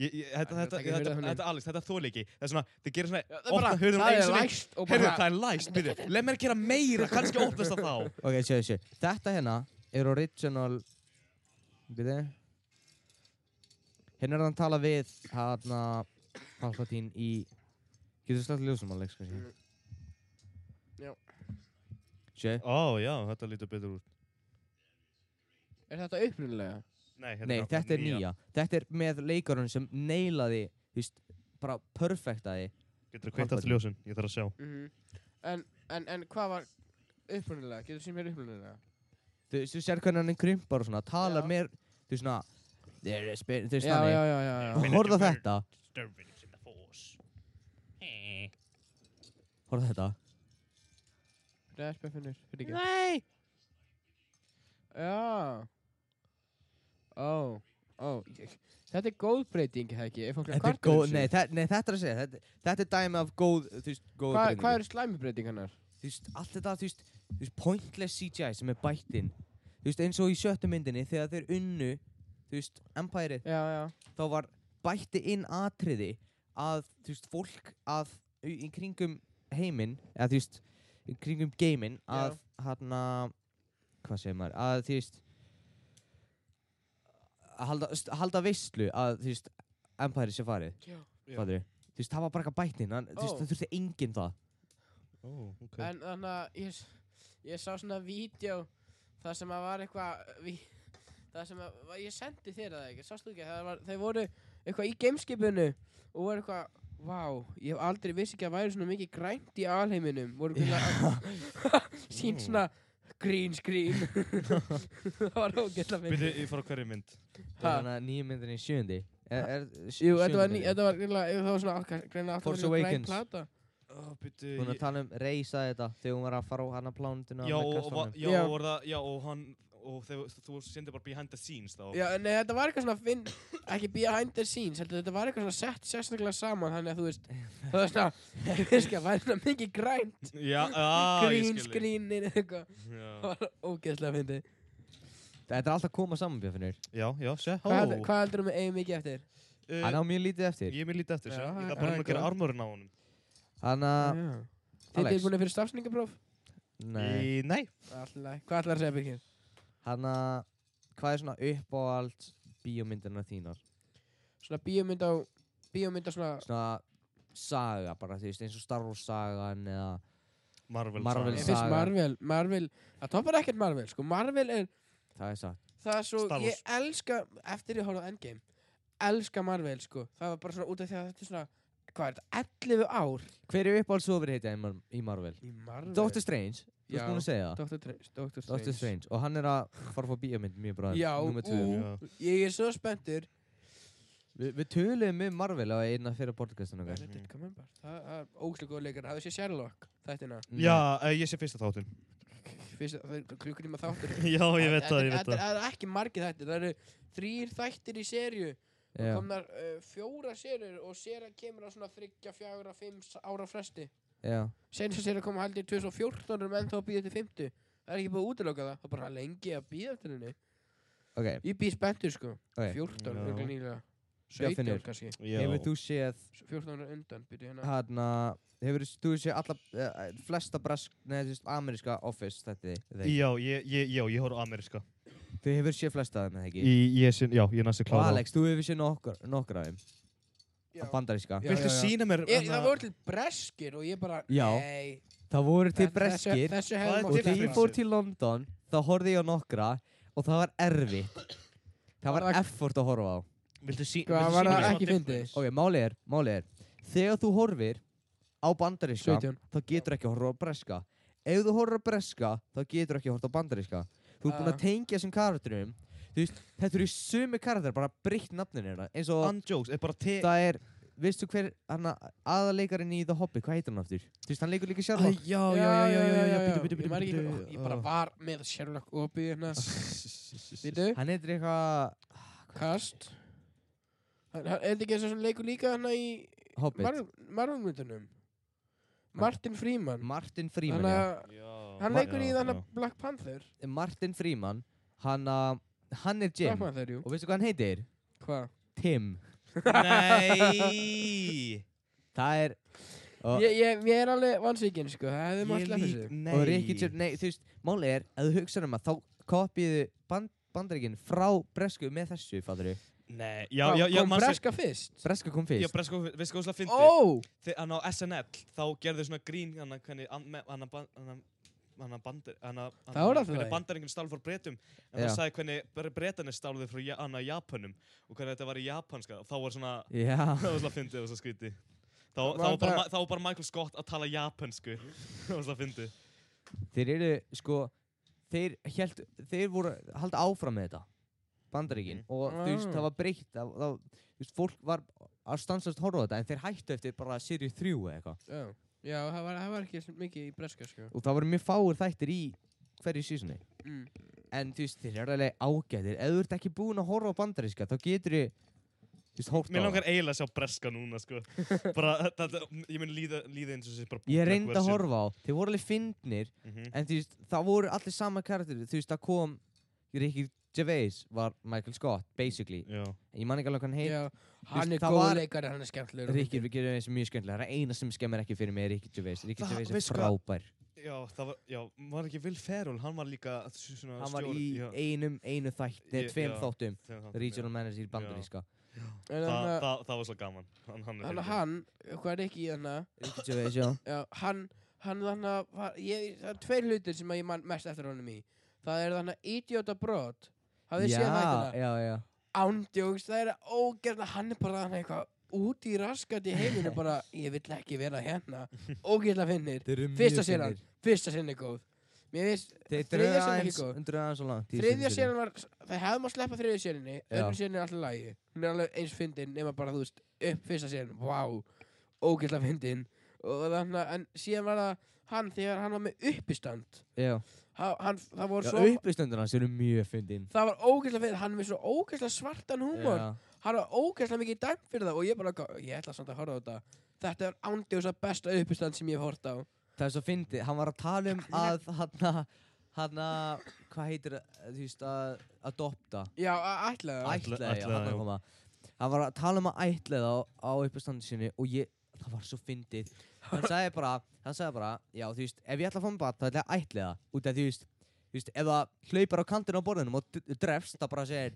Speaker 2: Ég, ég, þetta,
Speaker 3: Æ, ég
Speaker 2: þetta,
Speaker 3: vil taka
Speaker 2: þetta,
Speaker 3: hurðarhúninn.
Speaker 2: þetta, Alex, þetta þóli ekki. Það er svona, þeir gerir svona,
Speaker 3: Já,
Speaker 2: opna hurðum
Speaker 3: það
Speaker 2: einu
Speaker 3: er
Speaker 2: sinni.
Speaker 3: læst og
Speaker 2: Heyrðu,
Speaker 3: bara,
Speaker 2: það er læst, byrju. Leð mér gera meira, kannski opnast það þá.
Speaker 1: ok, sjö, sjö. Þetta hérna er original, við þið? Hérna er hann að tala við, hérna, Palpatine í, getur þú slætt ljósum, Alex, kannski?
Speaker 3: Mm. Já. Hérna
Speaker 1: Sjö?
Speaker 2: Ó, já, þetta lítur betur út.
Speaker 3: er þetta upprunalega?
Speaker 2: Nei, hérna
Speaker 1: Nei,
Speaker 2: er
Speaker 1: þetta er nýja. Þetta er með leikarun sem neilaði, þú veist, bara perfektaði.
Speaker 2: Getur þú kveikt aftur ljósin, ég þarf að sjá.
Speaker 3: Mhm. en, en, en hvað var upprunalega? Getur þú sér mér upprunalega?
Speaker 1: Þú veist, þú sér hvernig hann krympar og svona, talar
Speaker 3: Já.
Speaker 1: með, þú veist, svona, Þeir eru spyr- þú veist
Speaker 3: já, já,
Speaker 1: þannig
Speaker 3: já, já, já.
Speaker 1: Horfðu á þetta
Speaker 2: Störfinn sem það fós.
Speaker 1: Horfðu á þetta
Speaker 3: Respen finnur, fyrir ekki.
Speaker 2: Nei!
Speaker 3: Já. Ó, ó. ég- Þetta er góð breyting, hefði ekki? Ef fólk
Speaker 1: Þetta er
Speaker 3: kvarta
Speaker 1: góð,
Speaker 3: yfir
Speaker 1: nei,
Speaker 3: þessu.
Speaker 1: þe nei þetta er að segja Þetta, þetta er dæmi af góð, þú veist, góð
Speaker 3: Hvað hva eru slæmi breytingarnar?
Speaker 1: Þú veist, allt þetta, þú veist, þú veist, pointless CGI sem er bætt inn Þú veist, eins og í sjöttu myndinni þegar þeir unnu, þú veist, Empire
Speaker 3: Já, já.
Speaker 1: þá var bætti inn atriði að þú veist fólk að í í kringum heiminn eða þú veist í kringum geiminn að hérna hvað segir maður að þú veist að halda, st- halda veistlu að þú veist Empire sé farið
Speaker 3: Já.
Speaker 1: fattur þú veist það var bara eitthvað bætt inn hann, þú veist
Speaker 3: Ó.
Speaker 1: það þurfti enginn það
Speaker 2: Ó, ok.
Speaker 3: En þannig að ég, s- ég sá svona vídeo þar sem að var eitthvað ví- þar sem að, var- ég sendi þér það ekki, sástu ekki það var, þeir voru eitthvað í gameskipinu og voru eitthvað, vá ég hef aldrei vissi ekki að væri svona mikið grænt í alheiminum, voru eitthvað
Speaker 2: Mm.
Speaker 3: sínt svona green screen það var ógætla
Speaker 2: Byrju,
Speaker 3: myndi
Speaker 2: ég fór á hverju mynd.
Speaker 1: það var þannig að nýju myndinni í sjöundi er, er,
Speaker 3: Jú, þetta var, ný, þetta var, greinilega- það var svona alltaf- greinilega alltaf
Speaker 1: Force
Speaker 3: verið græn
Speaker 1: Awakens.
Speaker 3: plata
Speaker 2: Ó, byrju,
Speaker 1: hún að
Speaker 2: ég-
Speaker 1: tala um reysa þetta þegar hún var að fara á hana plánundina
Speaker 2: Já, og, va- já,
Speaker 3: Já.
Speaker 2: og var það, já, og hann, og þegar þú sendir bara behind the scenes þá.
Speaker 3: Já, nei, þetta var eitthvað svona finn, ekki behind the scenes, heldur þetta var eitthvað svona sett sérstaklega saman, þannig að þú veist, það var svona, ég veist ekki að væri svona mikið grænt,
Speaker 2: Já, á, ég
Speaker 3: green
Speaker 2: skil þig.
Speaker 3: screenin eða eitthvað,
Speaker 2: Já,
Speaker 3: það var ógeðslega fyndið.
Speaker 1: þetta er alltaf að koma saman Björfinnur
Speaker 2: já, já, sé, hó.
Speaker 3: Hvað heldur- Hvað heldur þú með eigin mikið eftir?
Speaker 2: Eh,
Speaker 1: hann á mjög lítið eftir
Speaker 2: Ég er mér lítið eftir,
Speaker 3: Já,
Speaker 2: sé.
Speaker 3: það
Speaker 2: Ég
Speaker 3: er-
Speaker 2: þarf bara
Speaker 3: það er
Speaker 2: að gera
Speaker 3: góð.
Speaker 2: armurinn á honum.
Speaker 1: Hanna,
Speaker 3: Þið
Speaker 1: Alex.
Speaker 3: tilbúinir fyrir stafsningapróf? Mm.
Speaker 1: nei,
Speaker 2: Í- Nei.
Speaker 3: Alltaf, hvað ætlar að segja byrkir?
Speaker 1: hanna, hvað er svona uppáhald bíómyndirna þínar?
Speaker 3: Svona bíómynd á, bíómynd á svona,
Speaker 1: Svona saga bara, þú veist, eins og Star Wars sagan eða,
Speaker 2: Marvel.
Speaker 1: Marvel
Speaker 3: ég
Speaker 1: saga.
Speaker 2: saga.
Speaker 3: finnst Marvel, Marvel, það toppar ekkert Marvel, sko, Marvel er,
Speaker 1: það er satt.
Speaker 3: það er svo,
Speaker 2: Star Wars.
Speaker 3: ég elska, eftir ég horfði á Endgame, elska Marvel, sko, það var bara svona út af því að þetta er svona, hvað er þetta, 11 ár?
Speaker 1: Hver er uppáhald svo verið heitja í Marvel?
Speaker 3: Í Marvel?
Speaker 1: Doctor Strange, þú
Speaker 3: Já.
Speaker 1: veist múin að segja það?
Speaker 3: Dr. Strange. Dr. Strange.
Speaker 1: Doctor Strange, og hann er að fara að fá bíómynd mjög bráðum,
Speaker 3: Já,
Speaker 1: nummer 2.
Speaker 3: ú.
Speaker 2: Já.
Speaker 3: Ég er svo spenntur.
Speaker 1: Vi, við töluðum um Marvel á eina fyrir podcastinu, okkar.
Speaker 2: Mm.
Speaker 3: Benedict Cumberbatch. Það það er ógæslega góð leikar. Hafið séð Sherlock þættina.
Speaker 2: Já, eh, ég sé fyrsta þáttinn.
Speaker 3: Fyrst, það er klukkutíma þáttur.
Speaker 2: Já, ég veit það, ég veit
Speaker 3: það.
Speaker 2: það.
Speaker 3: Það er ekki margir þættir. Það eru þrýr þættir í serju.
Speaker 1: Já.
Speaker 3: Það komnar uh, fjóra serjur og sera kemur á svona þryggja, fjagra, fimm s- ára fresti.
Speaker 1: Já,
Speaker 3: Senast að sera kom haldið í 2014 og um menn þá býðið til 50. Það er ekki búið að útiloka það. Það er bara lengi að býða eftir henni.
Speaker 1: ok,
Speaker 3: Ég býð spenntur sko.
Speaker 1: Ok.
Speaker 3: 14
Speaker 2: Já.
Speaker 3: örugglega nýlega.
Speaker 1: Bjarfinnur.
Speaker 3: 17 kannski.
Speaker 2: Já.
Speaker 1: hefur þú séð
Speaker 3: 14 ára undan, byrju hérna
Speaker 1: hérna, hefur þú séð alla, eh, flesta brask, neða, þú veist, ameríska Office, þetta þið?
Speaker 2: Já, ég, ég, já, ég horf á ameríska.
Speaker 1: Þú hefur séð flesta af þeim, eða ekki?
Speaker 2: Í- Ég sé, já, ég næstu
Speaker 1: Og
Speaker 2: klára.
Speaker 1: Alex, þú hefur séð nokkur, nokkur af þeim,
Speaker 3: Já.
Speaker 1: af bandaríska.
Speaker 3: Já.
Speaker 2: Viltu sína mér?
Speaker 3: Ég,
Speaker 2: hana-
Speaker 3: það voru til breskir og ég bara,
Speaker 1: Já.
Speaker 3: nei
Speaker 1: Það voru til
Speaker 3: þetta-
Speaker 1: breskir
Speaker 3: Þessu
Speaker 2: Hvað er
Speaker 1: og
Speaker 2: til
Speaker 1: þegar
Speaker 2: breskir?
Speaker 1: ég fór til London, þá horfði ég á nokkra og það var erfitt. Það var
Speaker 3: Var það-
Speaker 1: effort að horfa á.
Speaker 2: Viltu sí-
Speaker 3: Hvað,
Speaker 2: viltu
Speaker 3: var
Speaker 2: sýna mér
Speaker 3: það
Speaker 2: Oh,
Speaker 3: ekki
Speaker 2: svona
Speaker 3: fyndið?
Speaker 2: difference?
Speaker 1: Ok, málið er, málið er, þegar þú horfir á bandaríska,
Speaker 3: 17.
Speaker 1: þá getur ekki að horfa á breska. Ef þú horfir á breska, þá getur ekki að horfa á bandaríska. Þú er búinn
Speaker 3: Ah.
Speaker 1: að tengja þessum karakterum, þú veist, þetta eru sömu karakter, bara breytt nafninu hérna, eins og...
Speaker 2: Unjokes, er bara te...
Speaker 1: það er, veistu hver hann aðaleikarinn í The Hobbit, hvað heitir hann aftur? Þú veist, hann leikur líka
Speaker 2: Æ,
Speaker 1: Sherlock
Speaker 2: já, já, já, já, já, já, bítu, bítu,
Speaker 3: Ég
Speaker 2: bítu,
Speaker 3: man ekki,
Speaker 2: bítu.
Speaker 3: hvað- ég bara
Speaker 2: Ah.
Speaker 3: var með Sherlock og býði hérna Býtu,
Speaker 1: Hann heitir eitthvað
Speaker 3: kast Hann- hann- Er þetta ekki þessu sem leikur líka hérna í
Speaker 1: Hobbit
Speaker 3: Marvungmyndunum? Martin Freeman
Speaker 1: Martin
Speaker 3: Hann, uh,
Speaker 1: Freeman, já
Speaker 3: að- hann
Speaker 2: Já,
Speaker 3: leikur í
Speaker 2: já.
Speaker 3: þannig Black Panther
Speaker 1: Martin Freeman, hann að hann er
Speaker 3: Black
Speaker 1: Jim
Speaker 3: Panther, jú
Speaker 1: og veistu hvað hann heitir?
Speaker 3: Hvað?
Speaker 1: Tim
Speaker 2: Nei
Speaker 1: Það er og,
Speaker 3: Ég, ég, ég er alveg vansvíkin, sko Það hefði maður sleppt þessu
Speaker 2: nei
Speaker 1: og Ricky Jim, nei, þú veist, málið er að þú hugsaður um að þá kopiðu band, bandaríkin frá Bresku með þessu, fatturu
Speaker 2: Nei, já,
Speaker 3: Hvað,
Speaker 2: já, já,
Speaker 3: Kom
Speaker 2: manstu-
Speaker 3: breska fyrst?
Speaker 1: Breska kom
Speaker 2: Já,
Speaker 1: fyrst
Speaker 2: bresko, veist hvað það fyndi?
Speaker 3: Ó!
Speaker 2: Þegar hann á SNL, þá gerðu svona grín hann að hvernig, an- me- hann að ban- hann að- hann að bandar, hann að
Speaker 3: Það voru alltaf
Speaker 2: hvernig
Speaker 3: lagi.
Speaker 2: bandaringin stál frá bretum en það
Speaker 1: Já.
Speaker 2: sagði hvernig bre- bretarnir stáluðu frá ja- hann að Japanum og hvernig þetta var í japanska og þá var svona,
Speaker 1: Já,
Speaker 2: það var svona fyndið og svo skríti þá,
Speaker 3: Var
Speaker 2: þá, var bara,
Speaker 3: þetta-
Speaker 2: ma- þá var bara Michael Scott að tala japansku það var svona fyndið
Speaker 1: þeir eru, sko þeir, held, þeir voru að halda áfram með þetta bandaríkin
Speaker 2: Mhm.
Speaker 1: og þú veist,
Speaker 3: Ah.
Speaker 1: það var breytt það, það, þú veist, fólk var að stansast horfa á þetta en þeir hættu eftir bara serið 3 eða eitthvað
Speaker 3: Já, já það, var, það var ekki svo mikið í breska sko.
Speaker 1: og það voru mjög fáir þættir í hverju sísunni
Speaker 3: mm.
Speaker 1: en þú veist, þeir eru alveg ágætir ef þú ert ekki búinn að horfa á bandaríska þá getur þið, þú veist, hórt á
Speaker 2: Mér
Speaker 1: það.
Speaker 2: langar eiginlega að sjá breska núna, sko. bara, það, ég mun líða, líða eins og þessi bara...
Speaker 1: ég reyndi að horfa á, þeir voru alveg fyndnir
Speaker 2: Mm -hmm.
Speaker 1: en þú veist, það voru allir sama karakter þú veist, það kom Ricky Gervais var Michael Scott, basically
Speaker 2: Já.
Speaker 1: ég man ekki alveg hvað hann heit
Speaker 3: já,
Speaker 1: veist,
Speaker 3: hann er
Speaker 1: það
Speaker 3: góð
Speaker 1: var-
Speaker 3: leikari, hann er skemmtilegur
Speaker 1: Ricky Gervais er mjög skemmtilega, það er eina sem skemmir ekki fyrir mig er Ricky Gervais, Ricky
Speaker 2: Það-
Speaker 1: Gervais er
Speaker 2: veistu hvað?
Speaker 1: frábær
Speaker 2: já, það var, já, var ekki Will Ferrell, hann var líka s- svona
Speaker 1: hann var
Speaker 2: stjóri-
Speaker 1: í
Speaker 2: já,
Speaker 1: einum, einu þætt,
Speaker 2: Ég-
Speaker 1: neða tveim
Speaker 2: já.
Speaker 1: þáttum
Speaker 2: þegar hann-
Speaker 1: regional
Speaker 2: já.
Speaker 1: manager í sko. bandaríska
Speaker 3: En
Speaker 2: Það,
Speaker 3: hann,
Speaker 2: það,
Speaker 3: að-
Speaker 2: það, var svo gaman. Hann, hann,
Speaker 3: hann, að hann, hvað er ekki í hann að-
Speaker 1: Ricky Gervais, já
Speaker 3: Já, hann, hann þannig að, var- ég- það er tveir hlutir sem að ég man mest eftir honum í. Það er þannig að idiota brot, hafið þið séð
Speaker 1: já,
Speaker 3: hættina?
Speaker 1: já, já
Speaker 3: Ándjóks, það er ógerna, hann er bara þannig eitthvað út í raskat í heiminu bara, ég vill ekki vera hérna, ógerna finnir, Fyrsta mjög serían. fyndnir. fyrsta sinni góð. Mér finnst,
Speaker 1: þeir
Speaker 3: þriðja
Speaker 1: dröða
Speaker 3: sinni ekki
Speaker 1: aðeins,
Speaker 3: góð.
Speaker 1: dröða aðeins og langt í
Speaker 3: Þriðja
Speaker 1: seinni seríu.
Speaker 3: sérinn var, það hefði maður sleppa þriðja sérinni,
Speaker 1: Já.
Speaker 3: öðru sérinni er alltaf lægi. Hún er alveg eins fyndin nema bara, þú veist, upp fyrsta sérin, vá, ógæsla fyndin. Og þannig að, en síðan var það hann þegar hann var með uppistand.
Speaker 1: já,
Speaker 3: Ha, hann, það voru
Speaker 1: já
Speaker 3: svo,
Speaker 1: uppistöndur hans eru mjög fyndin
Speaker 3: það var ógæsla fyndin, hann er með svo ógæsla svartan húmor.
Speaker 1: Já.
Speaker 3: Hann var ógæsla mikið dæmt fyrir það og ég bara, eitthvað, ég ætla samt að horfa á þetta. Þetta er ándjósa besta uppistand sem ég hef hort á.
Speaker 1: Það er svo fyndið, hann var að tala um að hann hann að, hvað heitir það, þú veist, að adopta,
Speaker 3: Já, a- ætlaði það.
Speaker 2: Ætla-
Speaker 1: ætlaði,
Speaker 2: ættleiða,
Speaker 1: hann að
Speaker 2: já.
Speaker 1: koma. Hann var að tala um að ætlaða á, á uppastandi sinni og ég, það var svo fyndið. Hann sagði bara, hann sagði bara, já, þú veist, ef ég ætla að fá mig bat, þá ætla ég að ætlaða, út af þú veist, þú veist, ef það hlaupar á kantinu á borðinum og d- drefst, það bara segir,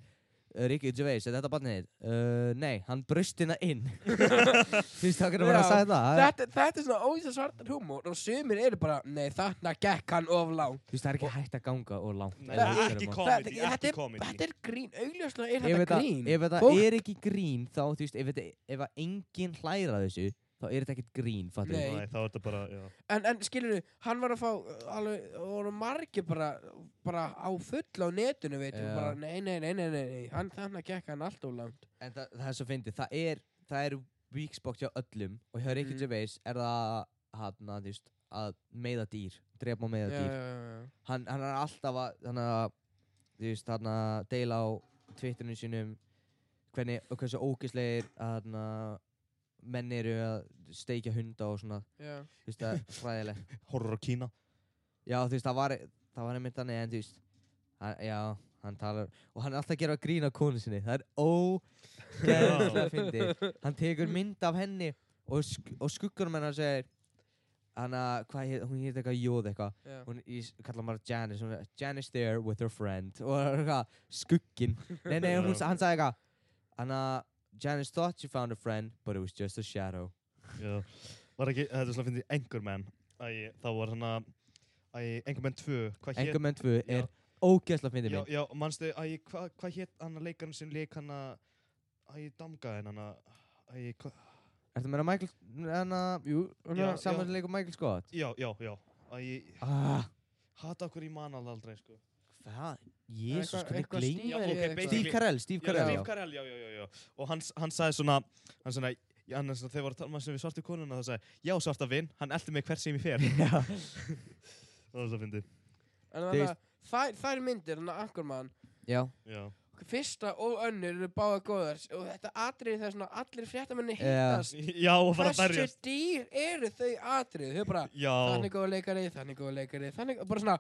Speaker 1: uh, Rikki Gervais, er þetta barnið þitt? Uh, nei, hann braust hérna inn. Þú veist, það kannar bara að
Speaker 3: Já,
Speaker 1: segja það.
Speaker 3: Þetta, þetta er svona ógæsla svartan húmor og sumir eru bara, nei þarna gekk hann of langt.
Speaker 1: Þú veist, það er ekki hægt að ganga og langt.
Speaker 2: Nei,
Speaker 1: ef þú
Speaker 3: það er
Speaker 1: fer um
Speaker 2: ekki
Speaker 1: á-
Speaker 2: kom- Comedy,
Speaker 3: þetta,
Speaker 2: ekki
Speaker 3: þetta,
Speaker 2: comedy.
Speaker 3: er, þetta er grín, augljóslega er
Speaker 1: ef
Speaker 3: þetta
Speaker 1: þetta,
Speaker 3: grín
Speaker 1: ef þetta
Speaker 3: Fólk-
Speaker 1: er ekki grín þá, þú veist, ef, þetta, e- ef að enginn hlæra þessu þá er þetta ekkert grín, fattur
Speaker 3: Nei.
Speaker 2: Nei, þá er þetta bara, já.
Speaker 3: en, en skilur hann var að fá uh, alveg, og voru margir bara, bara á full á netinu veit,
Speaker 1: Já.
Speaker 3: yeah. bara, nei, nei, nei, nei, nei, nei. Hann, þannig gekk hann alltof langt
Speaker 1: en það, það er svo fyndið, það er það er weak spot hjá öllum og hjá Ricky
Speaker 3: Mm.
Speaker 1: Gervais er það hann að, þú veist, að meiða dýr drepa og meiða dýr,
Speaker 3: já,
Speaker 1: hann, hann er alltaf að hann að, þú veist, hann að deila á twitterinu sínum hvernig, og hversu ógislegir hann að menn eru að steikja hunda og svona,
Speaker 3: já,
Speaker 1: þú veist, það er fræðilegt
Speaker 2: Horror á Kína.
Speaker 1: Já, þú veist, það var, það var einmitt þannig, en þú veist, hann, já, hann talar, og hann er alltaf að gera grín á konu sinni, það er ógeðslega fyndið. Hann tekur mynd af henni og, sk og skuggunum hennar segir, hann að, hvað heit, hún heit eitthvað jóð eitthvað,
Speaker 3: já, já.
Speaker 1: hún í, kallar maður Janice, hún er, Janice there with her friend, og það er eitthvað, skugginn, nei, nei, hún,
Speaker 2: Já.
Speaker 1: hann sagði eitthvað, hann að, Janice thought she found a friend, but it was just a shadow.
Speaker 2: Já, var ekki, þetta er svona að finna í Anchorman Æ, þá var hann að Æ, Anchorman 2, hvað hét
Speaker 1: Engum menn tvö
Speaker 2: Já.
Speaker 1: er ógeðslega fyndið
Speaker 2: já,
Speaker 1: mynd.
Speaker 2: já, manstu, æ, hvað hva hét hann að leikarinn sem leik hann að Æ, damgaðin hann að Æ, hva,
Speaker 1: Ertu að meina Michael, hann að,
Speaker 3: Jú, hann
Speaker 2: Já.
Speaker 3: að-
Speaker 1: samanleikum Michael Scott?
Speaker 2: já, já, já Æ,
Speaker 1: Ah,
Speaker 2: hata okkur í manal aldrei, sko
Speaker 1: hvað? Jésus,
Speaker 3: Eitthvað-
Speaker 1: hvernig
Speaker 3: eitthvað
Speaker 1: gleyma
Speaker 2: Já,
Speaker 3: Steve-
Speaker 2: ok,
Speaker 3: eitthvað.
Speaker 2: basically-
Speaker 1: Steve Carell, Steve
Speaker 2: Já,
Speaker 1: Carell,
Speaker 2: Steve
Speaker 1: já.
Speaker 2: Carell, já, já, já, já Og hann, hann sagði svona, hann svona Já, hann, er svona- þegar voru að tala um við svartu konuna þá sagði, já, svarta vinn, hann eldi mig hvert sem ég fer
Speaker 1: Já.
Speaker 2: Það var svo fyndið
Speaker 3: en
Speaker 1: Þú
Speaker 3: þannig að þær, þær myndir hann að Anchorman
Speaker 1: Já,
Speaker 2: Já,
Speaker 3: fyrsta og önnur eru báða góðar og þetta atrið þegar svona allir fréttamenni
Speaker 1: Já.
Speaker 3: hittast
Speaker 2: já, og bara
Speaker 3: hversu
Speaker 2: berjast
Speaker 3: dýr eru þau atrið þau bara
Speaker 2: Já,
Speaker 3: þannig góð leikari, þannig góð leikari, þannig bara svona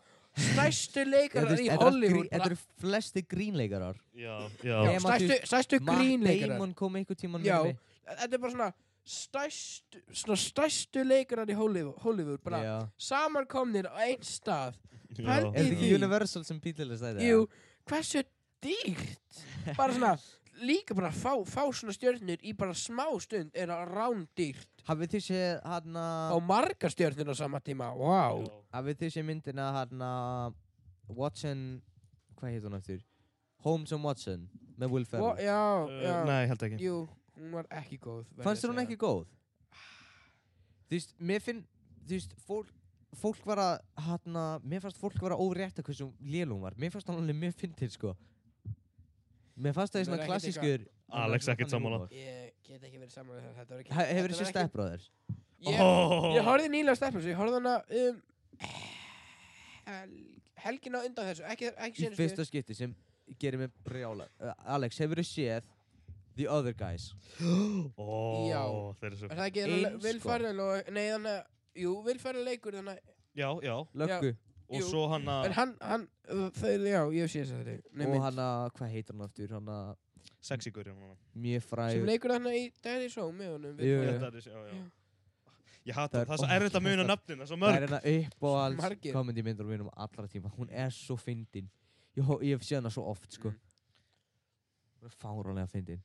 Speaker 3: stærstu leikarar
Speaker 1: veist,
Speaker 3: í
Speaker 1: þetta eru allt grín-
Speaker 3: Hollywood
Speaker 1: Þetta
Speaker 3: bara,
Speaker 1: eru flesti grínleikarar.
Speaker 2: já,
Speaker 3: já,
Speaker 2: já,
Speaker 1: Nema
Speaker 3: stærstu, stærstu
Speaker 1: Matt
Speaker 3: grínleikarar
Speaker 1: Damon kom einhver tíman
Speaker 3: Já, þetta er bara svona stærstu, svona stærstu leikarar í Hollywood, Hollywood bara
Speaker 1: já.
Speaker 3: samankomnir á einn stað
Speaker 2: já.
Speaker 1: Er þetta
Speaker 3: Í-
Speaker 1: ekki Universal sem bílilega stæði?
Speaker 3: jú, hversu dýrt bara svona líka bara fá, fá svona stjörnir í bara smá stund er að rán dýrt
Speaker 1: Hafið þið séð hann
Speaker 3: á
Speaker 1: að...
Speaker 3: margar stjörnir á sama tíma, wow
Speaker 2: Já.
Speaker 1: Hafið þið séð myndina hann að... Watson... Hvað heit hún eftir? Holmes and Watson með Will
Speaker 3: Wha-
Speaker 1: Ferrell.
Speaker 3: já, já,
Speaker 2: Uh, nei, held ekki.
Speaker 3: jú hún var ekki góð verð ég
Speaker 1: Fannst
Speaker 3: að
Speaker 1: þér hún
Speaker 3: segja.
Speaker 1: ekki góð? Þú veist, mér finn... Þú veist, fólk... Fólk var að, hérna, mér fannst fólk var að órétta hversu lélum var. Mér fannst hann alveg mjög fyndið, sko. Mér fannst það í
Speaker 3: Hún er
Speaker 1: svona
Speaker 3: ekkert
Speaker 1: klassískur
Speaker 2: Alex
Speaker 1: svona þannig
Speaker 2: ekkert sammála.
Speaker 1: húmor.
Speaker 3: Ég get ekki verið saman þetta þetta var ekki
Speaker 1: Ha- Hefur
Speaker 3: þetta
Speaker 1: þessi
Speaker 3: var ekki-
Speaker 1: stefbróður?
Speaker 3: Ég,
Speaker 2: Oh.
Speaker 3: ég horfði nýlega á stefnum, svo ég horfði hana um hel, helgina undan þessu, ekki, ekki
Speaker 1: Í
Speaker 3: sinu
Speaker 1: fyrsta skipti sem gerir mig brjála uh, Alex, hefur þú séð The Other Guys?
Speaker 2: Ó,
Speaker 3: Já.
Speaker 2: þeir eru svo
Speaker 3: Er það ekki
Speaker 1: Eins,
Speaker 3: þarna Will
Speaker 1: sko.
Speaker 3: Ferrell og, nei þannig að, jú, Will Ferrell leikur þannig að,
Speaker 2: Já, já,
Speaker 1: Löggu
Speaker 2: og
Speaker 3: Jú.
Speaker 2: svo hann að
Speaker 3: en hann, hann, þau, já, ég sé þess að
Speaker 1: Ah.
Speaker 3: þetta, nei,
Speaker 1: og
Speaker 3: mynd,
Speaker 1: hann að, hvað heitir hann aftur? Hann að
Speaker 2: sexy gurri hann
Speaker 1: mjög fræg
Speaker 3: sem leikur þannig í Daddy's Home með honum,
Speaker 1: Jú,
Speaker 2: Já,
Speaker 1: jú.
Speaker 2: það er- já, já.
Speaker 3: Já.
Speaker 2: Ég hata
Speaker 1: Það er
Speaker 2: það, það er svo erfitt að muna
Speaker 1: ógeðslegt.
Speaker 2: nafnin, það er svo
Speaker 1: Það
Speaker 2: mörg
Speaker 1: er hérna upp og alls
Speaker 3: Margir.
Speaker 1: komandi myndur mínum allra tíma Hún er svo fyndin Ég, hó- ég hef séð hana svo oft sko
Speaker 3: Mm.
Speaker 1: Hún er fárónlega fyndin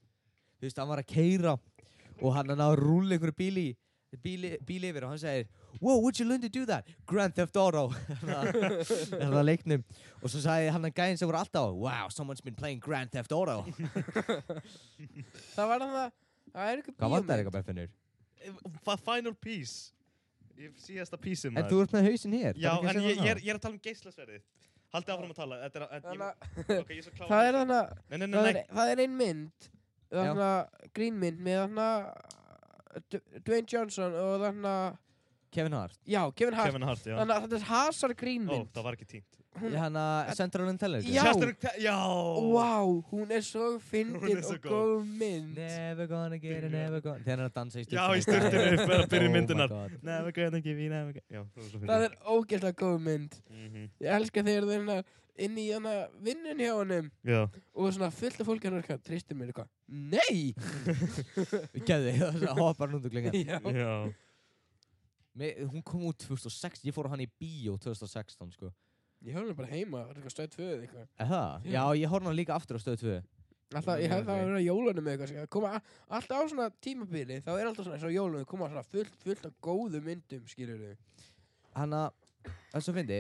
Speaker 1: Þú veist, hann var að keira og hann er að rúla einhverju bíli bíli, bíli yfir og hann segir Wow, would you learn to do that? Grand Theft Auto Það er það leiknum og svo sagði hann að gæðin sem voru alltaf á Wow, someone's been playing Grand Theft Auto
Speaker 3: það var hann það, það er einhver
Speaker 1: Hvað vantar eitthvað með finnur?
Speaker 2: Fa- Final piece Ég síðasta piece
Speaker 1: En þú ert með hausinn hér
Speaker 2: Já,
Speaker 1: þarf ekki að
Speaker 2: en
Speaker 1: segja
Speaker 2: ég,
Speaker 1: það.
Speaker 2: ég, er, ég er að tala um geislasverðið Haldið áfram að tala Þetta er að
Speaker 3: Þannig
Speaker 2: ég-
Speaker 3: að
Speaker 2: Ok, ég er svo klár
Speaker 3: það er þannig að,
Speaker 2: Nei, nei, nei,
Speaker 3: það
Speaker 2: nei
Speaker 3: er- það er ein mynd, þannig að, grínmynd með þannig að, Dwayne Johnson og þannig að,
Speaker 1: Kevin Hart
Speaker 3: já, Kevin Hart,
Speaker 2: Kevin Hart, já Oh,
Speaker 3: þannig að þetta er Hazard
Speaker 2: Ó,
Speaker 3: grínmynd,
Speaker 2: það var ekki tínt
Speaker 1: Hann að hérna Central Intelligence
Speaker 3: Já.
Speaker 2: Sérstök te- Já
Speaker 3: Vá, hún er svo fyndin
Speaker 2: er svo
Speaker 3: og góð mynd
Speaker 1: Never gonna get it, never gonna Þegar hann er að dansa í
Speaker 2: Já,
Speaker 1: sturtunni
Speaker 2: í sturtunni, fyrir að byrja
Speaker 1: Oh my
Speaker 2: myndunar
Speaker 1: god.
Speaker 2: Never gonna give you, never gonna Já, það var svo fyrir
Speaker 3: Það er ógeðslega góð mynd
Speaker 2: Mhm.
Speaker 3: Ég elska þegar þeir hérna inn í hana vinnun hjá honum
Speaker 2: Já
Speaker 3: og svona fullt af fólk hann er hvað, tristir mér eitthvað Nei!
Speaker 1: Gæði, það hoppar hann út og klingar
Speaker 3: Já,
Speaker 2: Já
Speaker 1: Hún kom út 2006, ég fór á hann í bíó 2016 sko
Speaker 3: ég höfði bara heima, það er eitthvað stöð tvöð eitthvað
Speaker 1: Er Það? Já, ég horfði hann líka aftur á stöð 2
Speaker 3: Alltaf, ég hefði það að vera á jólunum eða eitthvað sko. koma, a- Alltaf á svona tímabili, þá er alltaf svona eins og á jólunum koma svona fullt, fullt af góðu myndum skilur þau
Speaker 1: Hanna, það er svo fyndi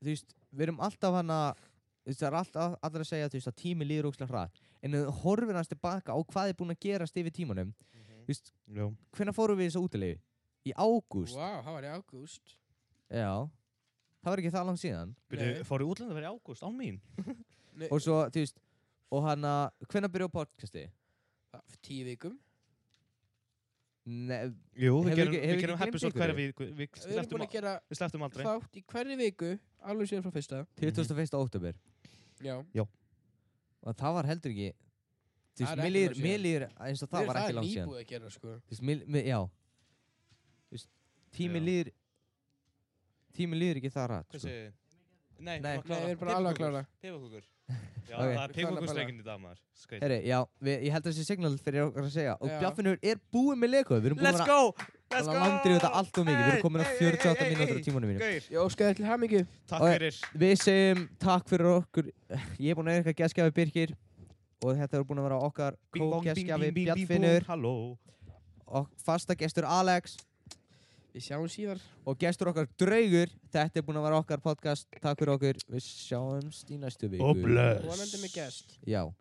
Speaker 1: Þú veist, við erum alltaf hanna Þú veist, það er alltaf allir að segja þú veist, að tími líður ókslega hratt En ef þú horfir hans tilbaka á hvað er búin að gerast yfir tímanum
Speaker 2: Mhm.
Speaker 1: Þú veist,
Speaker 2: Já
Speaker 1: hvenær fórum við í þessu útilegu? Í ágúst?
Speaker 3: Vá, það var í ágúst
Speaker 1: Já Það var ekki það langt síðan
Speaker 2: Byrju, fóru útlanda verið í ágúst, á mín
Speaker 3: Nei,
Speaker 1: Og svo, þú veist, og hanna, hvenær byrjuðu podcasti?
Speaker 3: það- Tíu vikum
Speaker 1: Nei,
Speaker 2: Jú, við
Speaker 1: Hefur
Speaker 2: gerum,
Speaker 1: ekki- hefur
Speaker 2: við
Speaker 1: ekki
Speaker 2: gerum
Speaker 1: gleymt
Speaker 2: episode
Speaker 1: ykkur?
Speaker 2: hverja viku Við
Speaker 3: Við erum
Speaker 2: slepptum
Speaker 3: búin að gera
Speaker 2: Við slepptum aldrei
Speaker 3: þátt í hverri viku alveg síðan frá fyrsta
Speaker 1: 21.
Speaker 3: Mhm.
Speaker 1: oktober
Speaker 3: Já,
Speaker 1: og það var heldur ekki þú
Speaker 3: Það
Speaker 1: veist,
Speaker 3: er
Speaker 1: mér
Speaker 3: ekki
Speaker 1: líður-
Speaker 3: langt
Speaker 1: mér
Speaker 3: síðan.
Speaker 1: líður eins og það var ekki langt
Speaker 3: Það er
Speaker 1: síðan
Speaker 3: nýbúið að gera sko
Speaker 1: Þú veist, mér- mér- já Þú veist, tími
Speaker 2: Já.
Speaker 1: líður tími líður ekki það rætt
Speaker 2: Hvað
Speaker 1: sko.
Speaker 2: segir þið? Nei,
Speaker 1: Nei.
Speaker 2: bara klára.
Speaker 3: Nei, við erum bara alveg að klára.
Speaker 2: Pipakökur. Já,
Speaker 1: Ok.
Speaker 2: það er
Speaker 3: Við klárum
Speaker 2: pipakökustreikin í dag, maður. Skreit.
Speaker 1: Herri, já, við, ég held að þessi signal fyrir okkur að segja og
Speaker 3: Já.
Speaker 1: Bjaffinur er búið með leikuð við erum búin að
Speaker 2: go!
Speaker 1: vera langdrið þetta allt og mikið við erum komin á 48 mínútur á tímanum mínum
Speaker 2: Gauir,
Speaker 3: Ég óskaði til hamingju
Speaker 2: takk
Speaker 1: Ok.
Speaker 2: fyrir.
Speaker 1: við segjum takk fyrir okkur ég er búin að vera eitthvað gæstgjafi Birkir og þetta er búin að vera okkar
Speaker 2: Bing, bong, bing,
Speaker 1: kókjæskjafi
Speaker 2: bing, bing, bing,
Speaker 1: Bjartfinnur
Speaker 2: bong. Halló.
Speaker 1: og fasta gestur Alex
Speaker 3: Við sjáum síðar
Speaker 1: og gestur okkar draugur þetta er búin að vera okkar podcast takk fyrir okkur, við sjáumst í næstu viku
Speaker 2: Og bless.
Speaker 3: Vonandi með gest
Speaker 1: já